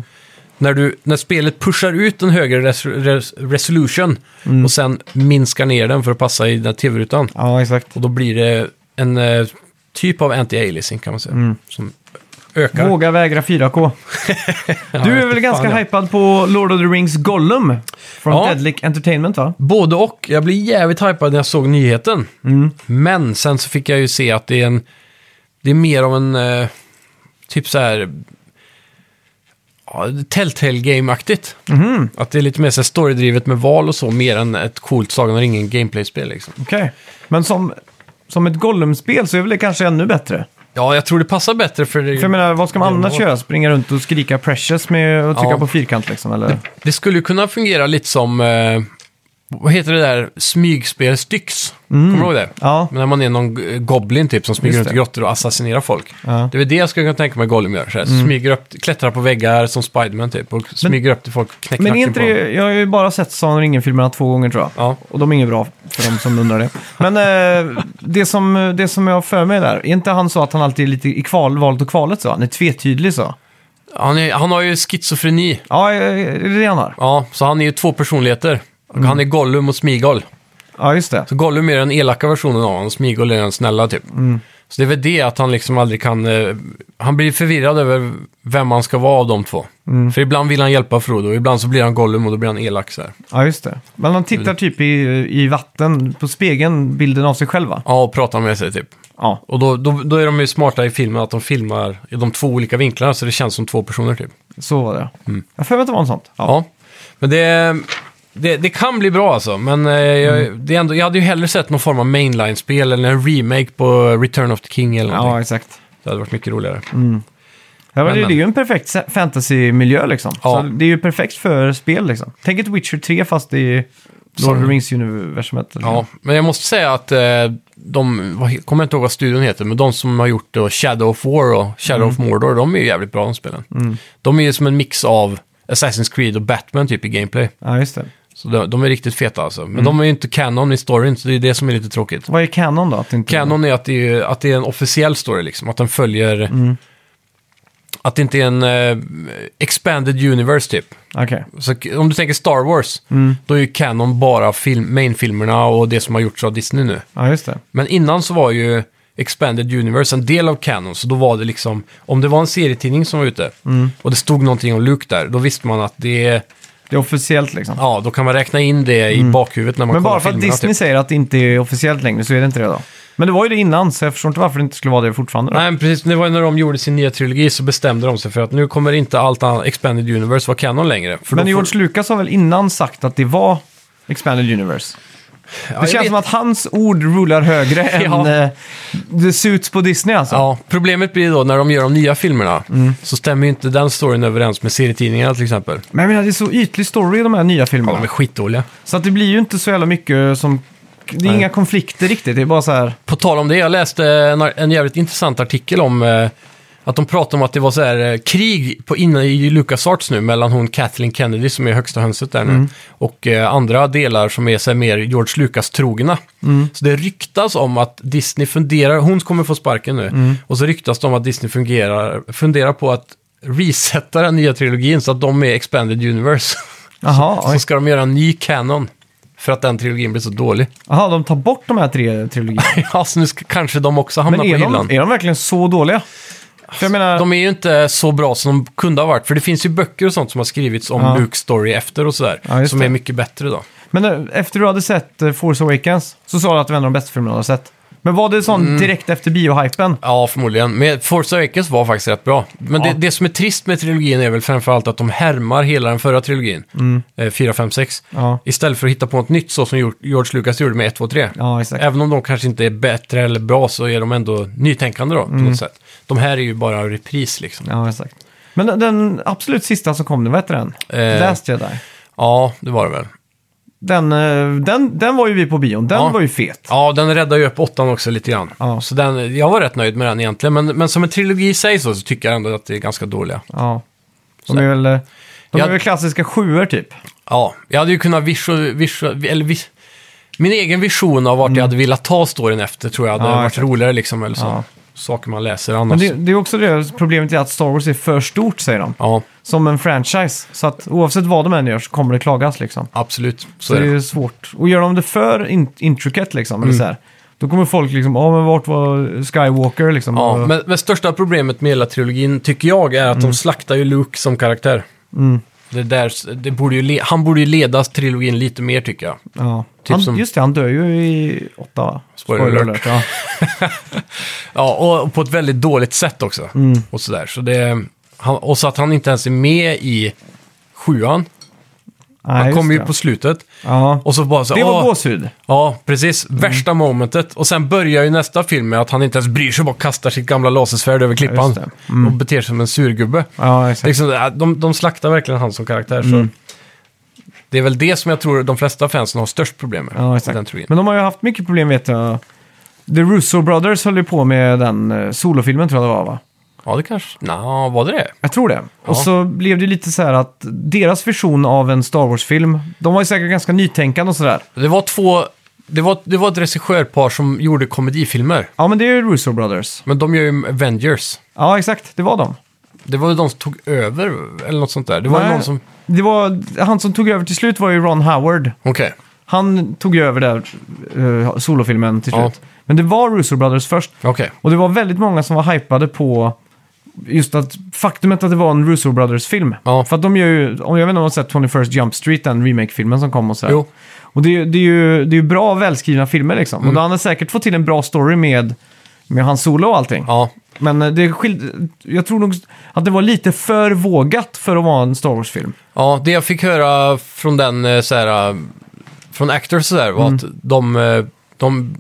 när, du, när spelet pushar ut en högre res res resolution Mm. och sen minskar ner den för att passa i den här tv-rutan. Ja, exakt. Och då blir det en eh, typ av anti-aliasing kan man säga. Mm. Som ökar. Våga vägra 4K. Du är väl fan, ganska ja. hypad på Lord of the Rings Gollum? Från Ja. Deadlick Entertainment va? Både och. Jag blev jävligt hypad när jag såg nyheten. Men sen så fick jag ju se att det är en... Det är mer av en... eh, typ så här... Ja, Telltale Game-aktigt. Att det är lite mer så här storydrivet med val och så, mer än ett coolt Sagan om ringen gameplay-spel liksom. Okej. Men som, som ett Gollum-spel så är väl det kanske ännu bättre? Ja, jag tror det passar bättre för... Det, För jag menar, vad ska man Ja, annars vad- göra? Springa runt och skrika precious med att trycka Ja. på fyrkant liksom? Eller? det skulle ju kunna fungera lite som... eh, vad heter det där smygspel Styx? Kommer du ihåg det? Mm. Ja. Men när man är någon g- goblin typ som Just smyger runt i det. grottor och assassinerar folk. Ja. Mm. Det är väl det jag skulle kunna tänka mig Gollum gör. Så här, Smyger upp, klättrar på väggar som Spiderman typ och smyger upp till folk och knäcker Men är nacken inte på dem. det, jag har ju bara sett Sagan om ringen-filmerna två gånger tror jag. Ja. Och de är inget bra för de som undrar det. Men eh, det, som, det som jag har för mig där, är inte han så att han alltid är lite i kval, valet och kvalet så? Han är tvetydlig så? Han, är, han har ju schizofreni. Ja, eh, är det det han har? Ja, så han är ju två personligheter. Mm. Och Han är Gollum och Smigol. Ja, just det. Så Gollum är den elaka versionen av honom och Smigol är den snälla typ. Så det är väl det att han liksom aldrig kan... Eh, han blir förvirrad över vem han ska vara av de två. För ibland vill han hjälpa Frodo, ibland så blir han Gollum och då blir han elak så här. Ja, just det. Men han tittar typ i, i vatten, på spegeln, bilden av sig själv va? Ja, och pratar med sig typ. Ja. Och då, då, då är de ju smarta i filmen att de filmar i de två olika vinklarna så det känns som två personer typ. Så var det. Mm. Jag har för mig att det var något sånt. Ja. Men det, det, det kan bli bra alltså. Men eh, jag, det är ändå, jag hade ju hellre sett någon form av mainline-spel eller en remake på Return of the King eller någonting. Ja, exakt. Det hade varit mycket roligare. Ja, men Men, det, det är ju en perfekt se- fantasymiljö liksom. Så Ja. det är ju perfekt för spel liksom. Tänk ett Witcher 3 fast i Lord of the Som- Rings-universumet. liksom. eller? Ja, men jag måste säga att eh, de, vad, he- kommer inte ihåg vad studion heter, men de som har gjort då Shadow of War och Shadow of Mordor, de är ju jävligt bra de spelen. De är ju som en mix av Assassin's Creed och Batman typ i gameplay. ja, just det. Så de, de är riktigt feta alltså. Men de är ju inte canon i storyn, så det är det som är lite tråkigt. Vad är Canon då? Att det inte... Canon är att det är, att det är en officiell story liksom, att den följer Att det inte är en eh, expanded universe typ. Okej. Så k- om du tänker Star Wars, då är ju Canon bara film, mainfilmerna och det som har gjorts av Disney nu. Ja, just det. Men innan så var ju Expanded Universe en del av Canon, så då var det liksom, om det var en serietidning som var ute Mm. och det stod någonting om Luke där, då visste man att det, Det är officiellt liksom. ja, då kan man räkna in det i bakhuvudet när man Mm. Men kollar bara för att filmerna, Disney typ. säger att det inte är officiellt längre så är det inte det då. Men det var ju det innan, så jag förstår inte varför det inte skulle vara det fortfarande. Då. Nej, men precis. Det var ju när de gjorde sin nya trilogi så bestämde de sig för att nu kommer inte allt annat Expanded Universe vara Canon längre. För Men då George Lucas har väl innan sagt att det var Expanded Universe? får, ja, Det jag känns vet. som att hans ord rullar högre än Ja. eh, the suits på Disney alltså. Ja, problemet blir då när de gör de nya filmerna Mm. så stämmer ju inte den storyn överens med serietidningarna till exempel. Men jag menar, det är så ytlig story i de här nya filmerna. De är skitdåliga. Så att det blir ju inte så jävla mycket som... Det är inga konflikter riktigt, det är bara så här... På tal om det, jag läste en, en jävligt intressant artikel om eh, att de pratade om att det var så här eh, krig på, inne i LucasArts nu mellan hon Kathleen Kennedy som är högsta hönset där nu Mm. och eh, andra delar som är så här, mer George Lucas-trogna. Mm. Så det ryktas om att Disney funderar, hon kommer få sparken nu, Mm. och så ryktas det om att Disney fungerar, funderar på att resetta den nya trilogin så att de är expanded universe. Jaha, så oj. ska de göra en ny canon för att den trilogin blir så dålig. Jaha, de tar bort de här tre trilogierna. Ja, så nu ska, kanske de också hamnar Men på är hyllan. de, är de verkligen så dåliga? För jag menar... De är ju inte så bra som de kunde ha varit. För det finns ju böcker och sånt som har skrivits om Ja. Luke Story efter och sådär. Ja, just som det. är mycket bättre då. Men eh, efter du hade sett eh, Force Awakens så sa du att det var en av de bästa filmerna du har sett. Men var det sån Mm. direkt efter biohypen? Ja, förmodligen. Men Force Awakens var faktiskt rätt bra. Men Ja. det, det som är trist med trilogin är väl framförallt att de härmar hela den förra trilogin. Eh, 4, 5, 6. Mm. Ja. Istället för att hitta på något nytt så som Geor- George Lucas gjorde med 1, 2, 3. Ja, exakt. Även om de kanske inte är bättre eller bra så är de ändå nytänkande då, på Mm. något sätt. De här är ju bara en repris liksom. Ja, exakt. Men den- den absolut sista som kom, nu, vad hette den? Eh. Last Jedi. Ja, det var det väl. Den, eh, den, den var ju vi på bion, den Ja. var ju fet. Ja, den räddar ju upp åttan också lite grann. Ja. Så den, jag var rätt nöjd med den egentligen. Men, men som en trilogi i sig så, så tycker jag ändå att det är ganska dåliga. Ja. De är väl, eh, de Jag- är väl klassiska sjuor typ. Ja, jag hade ju kunnat visu, visu, eller vis, Min egen vision av vart jag hade velat ta storyn efter tror jag hade Ja, varit exakt. roligare liksom. Eller så. Ja. Saker man läser Men annars. det, det är också det problemet är att Star Wars är för stort säger de. Ja, Som en franchise. Så att oavsett vad de än gör så kommer det klagas liksom. absolut. Så Så är det det. Mm. är svårt. Och gör de det för in intricate liksom, eller så här, då kommer folk liksom, ja men vart var Skywalker liksom? Ja, Och- men, men största problemet med hela trilogin tycker jag är att Mm. de slaktar ju Luke som karaktär. Det där, det borde ju le, han borde ju leda trilogin lite mer tycker jag. ja. typ han, som- Just det, han dör ju i åtta va? Spoiler alert. ja. Ja, och på ett väldigt dåligt sätt också. Mm. Och, sådär. Så det, han, och så att han inte ens är med i sjuan. Nej, Han just kommer ju det. på slutet. Ja. Och så bara så, Det var Mm. "Åh." gåshud. Ja, precis. Värsta momentet. Och sen börjar ju nästa film med att han inte ens bryr sig, bara kastar sitt gamla lasersvärd över klippan. just det. Mm. Och beter sig som en surgubbe. Ja, exakt. Mm. Liksom, äh, de, de slaktar verkligen han som karaktär. Så. Det är väl det som jag tror de flesta fansen har störst problem med. Ja, Den exakt. trilogin. Men de har ju haft mycket problem vet jag. The Russo Brothers höll ju på med den eh, solofilmen tror jag det var va? Ja, det kanske... Nå, var det det? Jag tror det. Och så blev det ju lite så här att deras vision av en Star Wars-film, de var ju säkert ganska nytänkande och sådär. Det var två... Det var, det var ett regissörpar som gjorde komedifilmer. Ja men det är ju Russo Brothers. Men de gör ju Avengers. Ja exakt, det var de. Det var ju de som tog över, eller något sånt där. Det var ju Nej, någon som... det var, han som tog över till slut var ju Ron Howard. Okej. Han tog ju över där eh, solofilmen till Ja. slut. Men det var Russo Brothers först. Okej. Och det var väldigt många som var hypade på just att faktumet att det var en Russo Brothers-film. Ja. För att de gör ju, om jag vet inte om man har sett 21st Jump Street, den remake-filmen som kom och sådär. Jo. Och det, är ju- det är ju det är ju bra välskrivna filmer liksom. Mm. Och då han har säkert fått till en bra story med, med hans solo och allting. Ja. Men eh, det skild... jag tror nog att det var lite för vågat för att vara en Star Wars-film. Ja, det jag fick höra från den eh, så här, eh, från actors så där, var Mm. att de, eh, de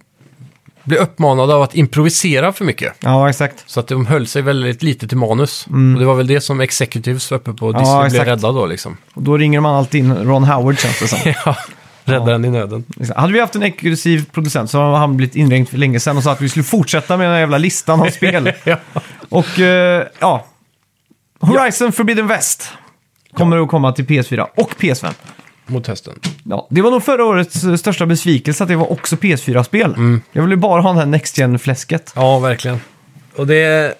blev uppmanade av att improvisera för mycket. Ja, exakt. Så att de höll sig väldigt lite till manus. Och det var väl det som executives uppe på Mm. Ja, Disney blev exakt. rädda då liksom. Och då ringer man alltid in Ron Howard känns det som. Ja, räddaren i nöden. Exakt. Liksom. Hade vi haft en exklusiv producent så hade han blivit inringd för länge sedan och sa att vi skulle fortsätta med den här jävla listan av spel. Ja. och eh, ja, Horizon Forbidden West kommer att komma till PS4 och PS5. Mot hösten. Ja, det var nog förra årets eh, största besvikelse att det var också Mm. PS4-spel. Jag ville bara ha den här Next Gen-fläsket. Ja, verkligen. Och det,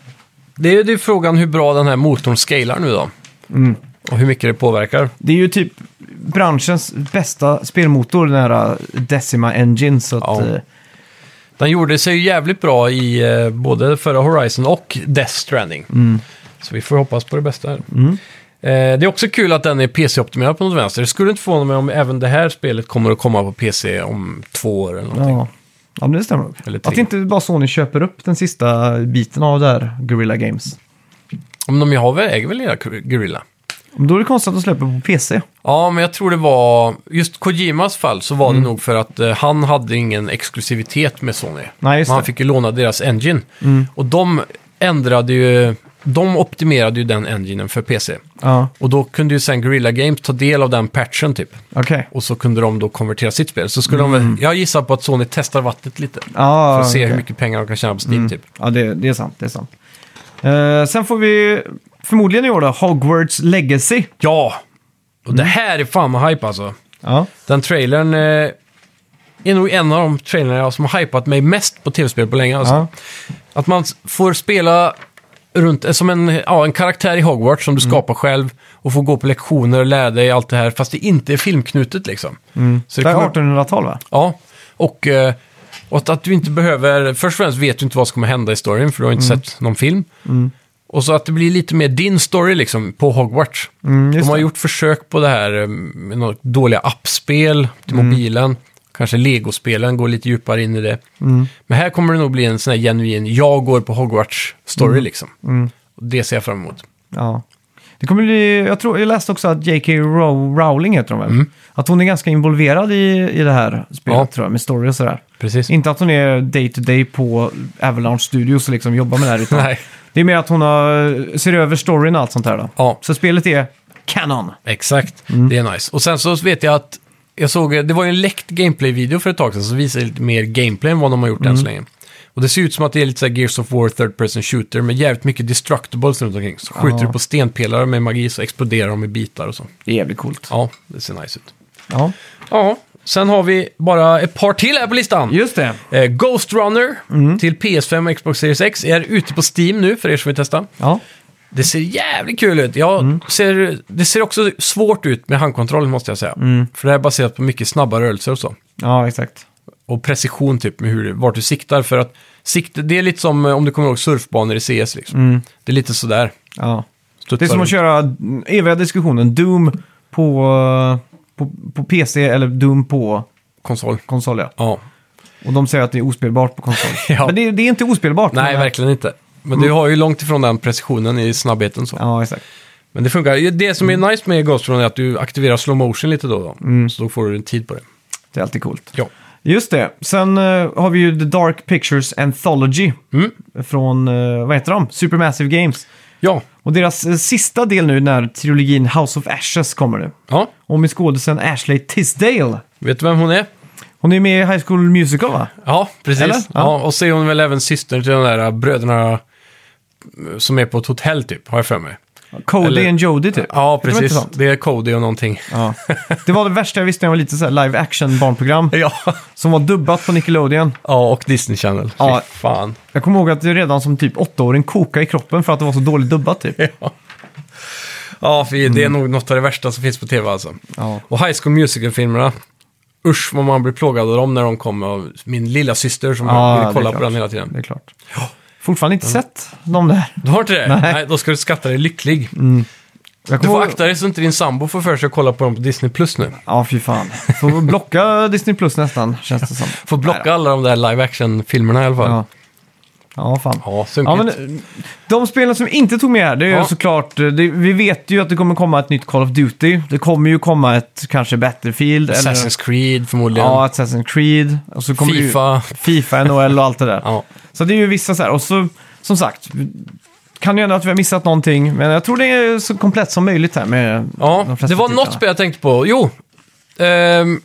Det är ju det är frågan hur bra den här motorn scalar nu då. Och hur mycket det påverkar. Det är ju typ branschens bästa spelmotor, den här eh, Decima Engine. Så att, Ja. eh, Den gjorde sig ju jävligt bra i eh, både förra Horizon och Death Stranding. Så vi får hoppas på det bästa här. Eh, det är också kul att den är PC-optimerad på något vänster. Det skulle inte förvåna mig om även det här spelet kommer att komma på PC om två år eller någonting. ja. ja, men det stämmer. nog. Eller Att tre. inte bara Sony köper upp den sista biten av det här Guerrilla Games. Om de ju har väl, äger väl era Gorilla? Men Då är det konstigt att de släpper på PC. Ja, men jag tror det var... Just Kojimas fall så var Mm. det nog för att eh, han hade ingen exklusivitet med Sony. Nej, just Men han det. Mm. fick ju låna deras engine. Och de ändrade ju... De optimerade ju den enginen för PC. Ja, Och då kunde ju sen Guerrilla Games ta del av den patchen typ. okej. Och så kunde de då konvertera sitt spel. Så skulle de väl, jag gissar på att Sony testar vattnet lite. Mm. Ja, för att se okej. hur Mm. mycket pengar de kan tjäna på Steam typ. Ja, det, det är sant. Det är sant. Eh, sen får vi förmodligen i år då, Hogwarts Legacy. Ja! Och Mm. det här är fan med hype alltså. Ja. Den trailern eh, är nog en av de trailern jag som har hypat mig mest på tv-spel på länge. Alltså. Ja. Att man s- får spela runt, eh, som en, ja, en karaktär i Hogwarts som du skapar själv och får gå på lektioner och lära dig allt det här, fast det inte är filmknutet liksom. Så Det det är kommer, 1800-tal va? ja, och, eh, och att- att du inte behöver, först och främst vet du inte vad som kommer hända i storyn för du har inte Mm. sett någon film. Och så att det blir lite mer din story liksom på Hogwarts. Mm, just De har det. gjort försök på det här eh, med några dåliga appspel till Mm. mobilen. Kanske legospelen går lite djupare in i det. Mm. Men här kommer det nog bli en sån här genuin, jag går på Hogwarts-story Mm. liksom. Och det ser jag fram emot. Ja. Det kommer bli, jag, tror, jag läste också att J.K. Row- Rowling heter hon väl? Att hon är ganska involverad i, i det här spelet Ja. tror jag, med story och sådär. Precis. Inte att hon är day to day på Avalanche Studios och liksom jobbar med det här. Utan Nej, det är mer att hon har, ser över storyn och allt sånt här då. Ja. Så spelet är kanon. exakt. Det är nice. Och sen så vet jag att jag såg, eh, det var ju en läckt gameplay-video för ett tag sedan som visade lite mer gameplay än vad de har gjort än så länge. Och det ser ut som att det är lite så här Gears of War Third Person Shooter med jävligt mycket destructibles runt omkring. Så skjuter Ja. du på stenpelare med magi så exploderar de i bitar och så. Det är jävligt coolt. Ja, det ser nice ut. Ja, Ja, sen har vi bara ett par till här på listan. just det. Eh, Ghost Runner till PS5 och Xbox Series X är ute på Steam nu för er som vill testa. Ja, Det ser jävligt kul ut. Jag Mm. ser, det ser också svårt ut med handkontrollen måste jag säga. Mm. För det här är baserat på mycket snabba rörelser och så. ja exakt. Och precision typ med hur, vart du siktar. För att sikte, det är lite som eh, om du kommer ihåg surfbanor i CS liksom. Det är lite sådär. Ja. Mm. Det Studsar är som att runt. köra eviga diskussionen Doom på, på, på PC eller Doom på konsol. konsol. Ja. Ja. Och de säger att det är ospelbart på konsol. Ja. Men det, är- det är inte ospelbart. Nej, men- verkligen inte. Men du har ju långt ifrån den precisionen i snabbheten så. Mm. Ja, Mm. exakt. Men det funkar. Det som är nice med Ghost Runner är att du aktiverar slow motion lite då och då. Mm. Så då får du en tid på det. Det är alltid coolt. Ja. Just det. Sen eh, har vi ju The Dark Pictures Anthology. Från, eh, vad heter de? Supermassive Games. Ja. Och deras eh, sista del nu när trilogin House of Ashes kommer nu. Ja. Och med skådisen Ashley Tisdale. Vet du vem hon är? Hon är med i High School Musical va? Ja, precis. Eller? Ja. Ja. och så är hon väl även syster till de där äh, bröderna eh, som är på ett hotell typ, har jag för mig. Cody Eller- and Jody typ. Ja, Heter de inte precis. sånt? Det är Cody och någonting. Ja. Det var det värsta jag visste när jag var liten, så här live action barnprogram. Ja, Som var dubbat på Nickelodeon. ja och Disney Channel. Ja. Fy fan. Jag kommer ihåg att det redan som typ åttaåring kokade i kroppen för att det var så dåligt dubbat typ. Ja, ja fy, det är Mm. nog något av det värsta som finns på tv alltså. Ja. Och High School Musical-filmerna. Usch vad man blir plågad av dem när de kom. av Min lilla syster som Ja, Ah, det ville är kolla på klart. den hela tiden. Det är klart. Fortfarande inte sett de där. Du har inte det? Nej. Nej. Mm. då ska du skatta dig lycklig. Jag Du kommer får ihåg- akta dig så inte din sambo får för sig att kolla på dem på Disney Plus nu. Ja, fy fan. Får blocka Disney Plus nästan, känns det som. Får blocka alla de där live action-filmerna i alla fall. Ja, Ja, ja fan. sunkigt. Ja, men, eh, de spelen som inte tog med här, det är Ja. ju såklart... eh, Det, vi vet ju att det kommer komma ett nytt Call of Duty. Det kommer ju komma ett kanske Battlefield. Assassin's Creed förmodligen. Ja, Assassin's Creed. Och så kommer det FIFA. Ju FIFA, NHL och allt det där. Ja. Så det är ju vissa så här. Och så, som sagt, kan ju hända att vi har missat någonting. Men jag tror det är så komplett som möjligt här med Ja, de flesta det var titlarna. något spel jag tänkte på. Jo! Ehm,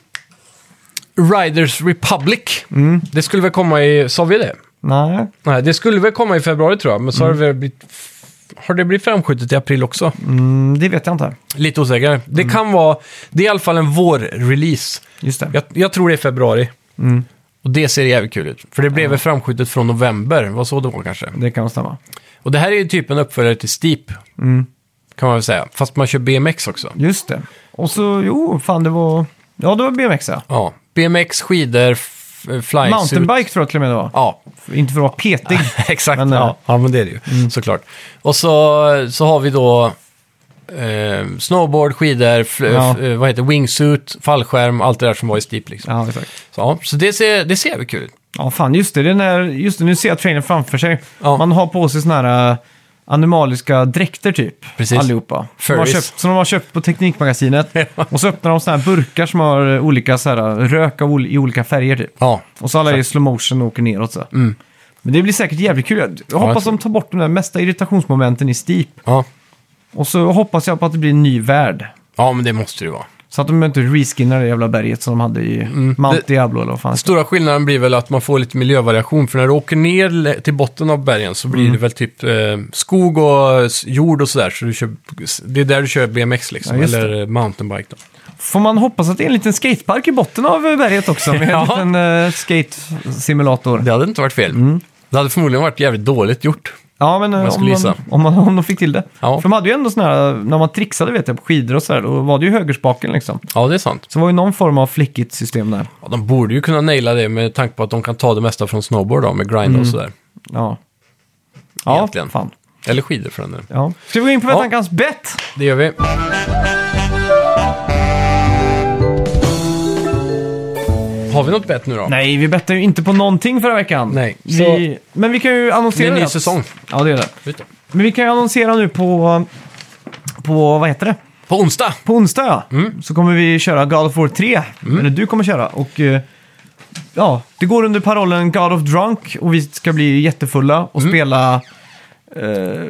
Riders Republic. Mm. Det skulle väl komma i... Sa vi det? Nej, Nej, det skulle väl komma i februari tror jag, men så har det väl blivit... Har det blivit framskjutet i april också? mm, det vet jag inte. Lite osäker. Det kan vara... Det är i alla fall en vår-release. Just det. Mm. Jag, jag tror det är februari. Och det ser jävligt kul ut. För det blev väl framskjutet från november, vad så det var kanske. Det kan stämma. Och det här är ju typ en uppföljare till Steep. Mm. Kan man väl säga. Fast man kör BMX också. Just det. Och så, jo, fan det var... Ja, det var BMX ja. Ja. BMX, skidor, f- flysuit. Mountainbike tror jag till och med det var. Ja, Inte för att vara petig. Exakt, Men, ja. eh, ja men det är det ju såklart. Och så, så har vi då eh, snowboard, skidor, fl- Ja. f- eh, vad heter det? wingsuit, fallskärm, allt det där som var i Steep liksom. ja, exakt. Så, ja, så det ser, det ser väl kul ut. Ja, fan just det. det är när, just det, nu ser jag trailern framför sig. Ja. Man har på sig såna här eh, animaliska dräkter typ. Precis. Allihopa. Som de, har Furries. köpt, som de har köpt på Teknikmagasinet. och så öppnar de såna här burkar som har eh, olika så här, eh, rök av, ol- i olika färger typ. Ja, Mm. Och så alla är i slow motion och åker neråt så. Men det blir säkert jävligt kul. Jag hoppas tror- de tar bort de där mesta irritationsmomenten i Steep. ja. Och så hoppas jag på att det blir en ny värld. ja men det måste det ju vara. Så att de inte reskinnar det jävla berget som de hade i Mount Mm. Det- Diablo eller vad fan det Stora skillnaden blir väl att man får lite miljövariation, för när du åker ner le- till botten av bergen så Mm. blir det väl typ eh, skog och s- jord och sådär. Så du kör, det är där du kör BMX liksom, Ja, just eller eh, mountainbike då. Får man hoppas att det är en liten skatepark i botten av berget också med Ja. en liten eh, skate-simulator. Det hade inte varit fel. Det hade förmodligen varit jävligt dåligt gjort. Ja, men eh, jag om, skulle man, gissa. om, man, om de fick till det. Ja. För de hade ju ändå sådana här, när man trixade vet jag, på skidor och sådär, då var det ju högerspaken liksom. Ja, det är sant. Så det var ju någon form av flickigt system där. Ja, de borde ju kunna naila det med tanke på att de kan ta det mesta från snowboard då, med grind och sådär. Ja. Ja, Egentligen. fan. Eller skidor för den delen. Ja. Ska vi gå in på Ja. veckans bett? Det gör vi. Har vi något bett nu då? Nej, vi bettade ju inte på någonting förra veckan. Nej, Vi, men vi kan ju Det är annonsera en ny att- säsong. Ja, det är det. Vet du. Men vi kan ju annonsera nu på... På, vad heter det? På onsdag! På onsdag ja. Mm. Så kommer vi köra God of War 3. Eller du kommer köra. Och eh, ja, det går under parollen God of Drunk. Och vi ska bli jättefulla och Mm. spela... eh,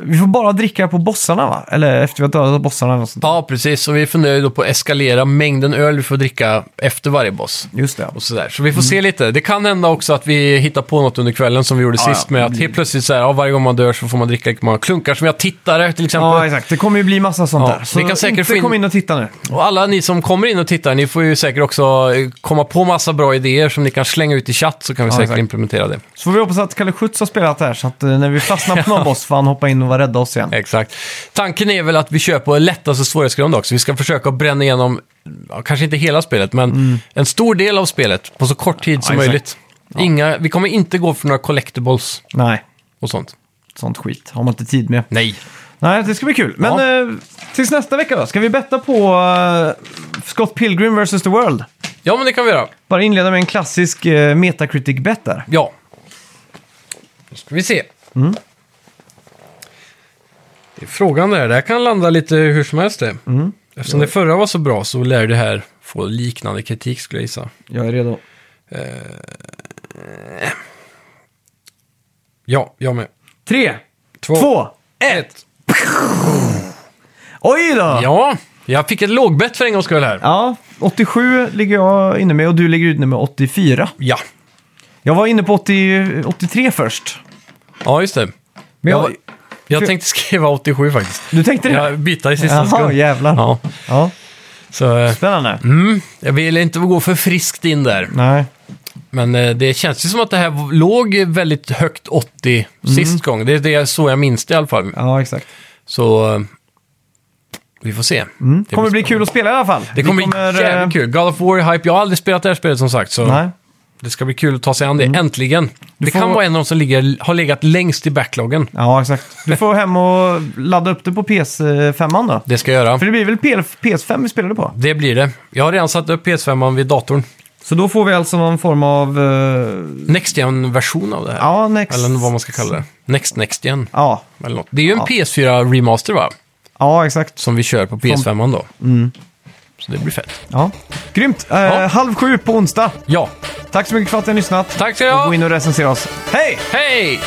vi får bara dricka på bossarna va? Eller efter vi har dödat bossarna eller något sånt. Ja, precis. Och vi funderar ju då på att eskalera mängden öl vi får dricka efter varje boss. Just det. Och sådär. Så vi Mm. får se lite. Det kan hända också att vi hittar på något under kvällen som vi gjorde Ja, Mm. sist ja. med att helt plötsligt så här, ja, varje gång man dör så får man dricka lika många klunkar som jag tittare till exempel. Ja, exakt. Det kommer ju bli massa sånt Ja, där. Så vi kan säkert inte få in- kom in och titta nu. Och alla ni som kommer in och tittar, ni får ju säkert också eh, komma på massa bra idéer som ni kan slänga ut i chatt så kan vi Ja, säkert exakt. implementera det. Så får vi hoppas att Kalle Schütz har spelat här. Så att eh, när vi fastnar på någon boss får han hoppa in och vara rädda oss igen. Exakt. Tanken är väl att vi kör på lättaste svårighetsgrund också. Vi ska försöka bränna igenom, ja, kanske inte hela spelet, men en stor del av spelet på så kort tid som Mm. Ja, exakt. möjligt. Inga, vi kommer inte gå för några collectibles Nej, och sånt. sånt skit har man inte tid med. Nej. Nej, det ska bli kul. Men eh, tills nästa vecka då, ska vi betta på eh, Scott Pilgrim vs. The World? Ja, men det kan vi göra. Bara inleda med en klassisk eh, Metacritic-bet där. Ja. Då ska vi se. Mm. Det är frågan där. Det här kan landa lite hur som helst det. Mm. Eftersom det förra var så bra så lär det här få liknande kritik skulle jag gissa. Jag är redo. Ja, jag med. Tre, Två. två, Ett! oj då! Ja, jag fick ett lågbett för en gångs skull här. Ja, 87 ligger jag inne med och du ligger inne med 84. Ja, Jag var inne på 80, 83 först. ja just det. Men jag, Jag- Jag tänkte skriva 87 faktiskt. du tänkte det? Jag bitar i sista Jaha, sekund. jävlar. Ja. Ja, så eh, Spännande. mm, jag ville inte gå för friskt in där. Nej. Men eh, det känns ju som att det här låg väldigt högt 80 Mm. sist gång. Det är det är så jag minns det i alla fall. Ja, exakt. Så eh, vi får se. Det Mm. kommer bli kul att spela i alla fall. eh, Det kommer, bli jävligt kul. God of War-hype. Jag har aldrig spelat det här spelet som sagt, så Nej. Mm. det ska bli kul att ta sig an det. Äntligen! det får- kan vara en av de som ligger, har legat längst i backloggen. Ja, exakt. Du får hem och ladda upp det på PS5 då. Det ska jag göra. För det blir väl PL- PS5 vi spelade på? Det blir det. Jag har redan satt upp PS5 vid datorn. Så då får vi alltså någon form av... eh, Next Gen-version av det här. ja, next... Eller vad man ska kalla det. Next Next Gen. Ja, Eller något. Det är ju en Ja. PS4-remaster va? ja exakt. Som vi kör på PS5 då. Mm. Så det blir fett. Ja. Grymt! Eh, Halv sju på onsdag. Ja, Tack så mycket för att ni har lyssnat. tack ska du Gå ha! in och recensera oss. Hej! Hej!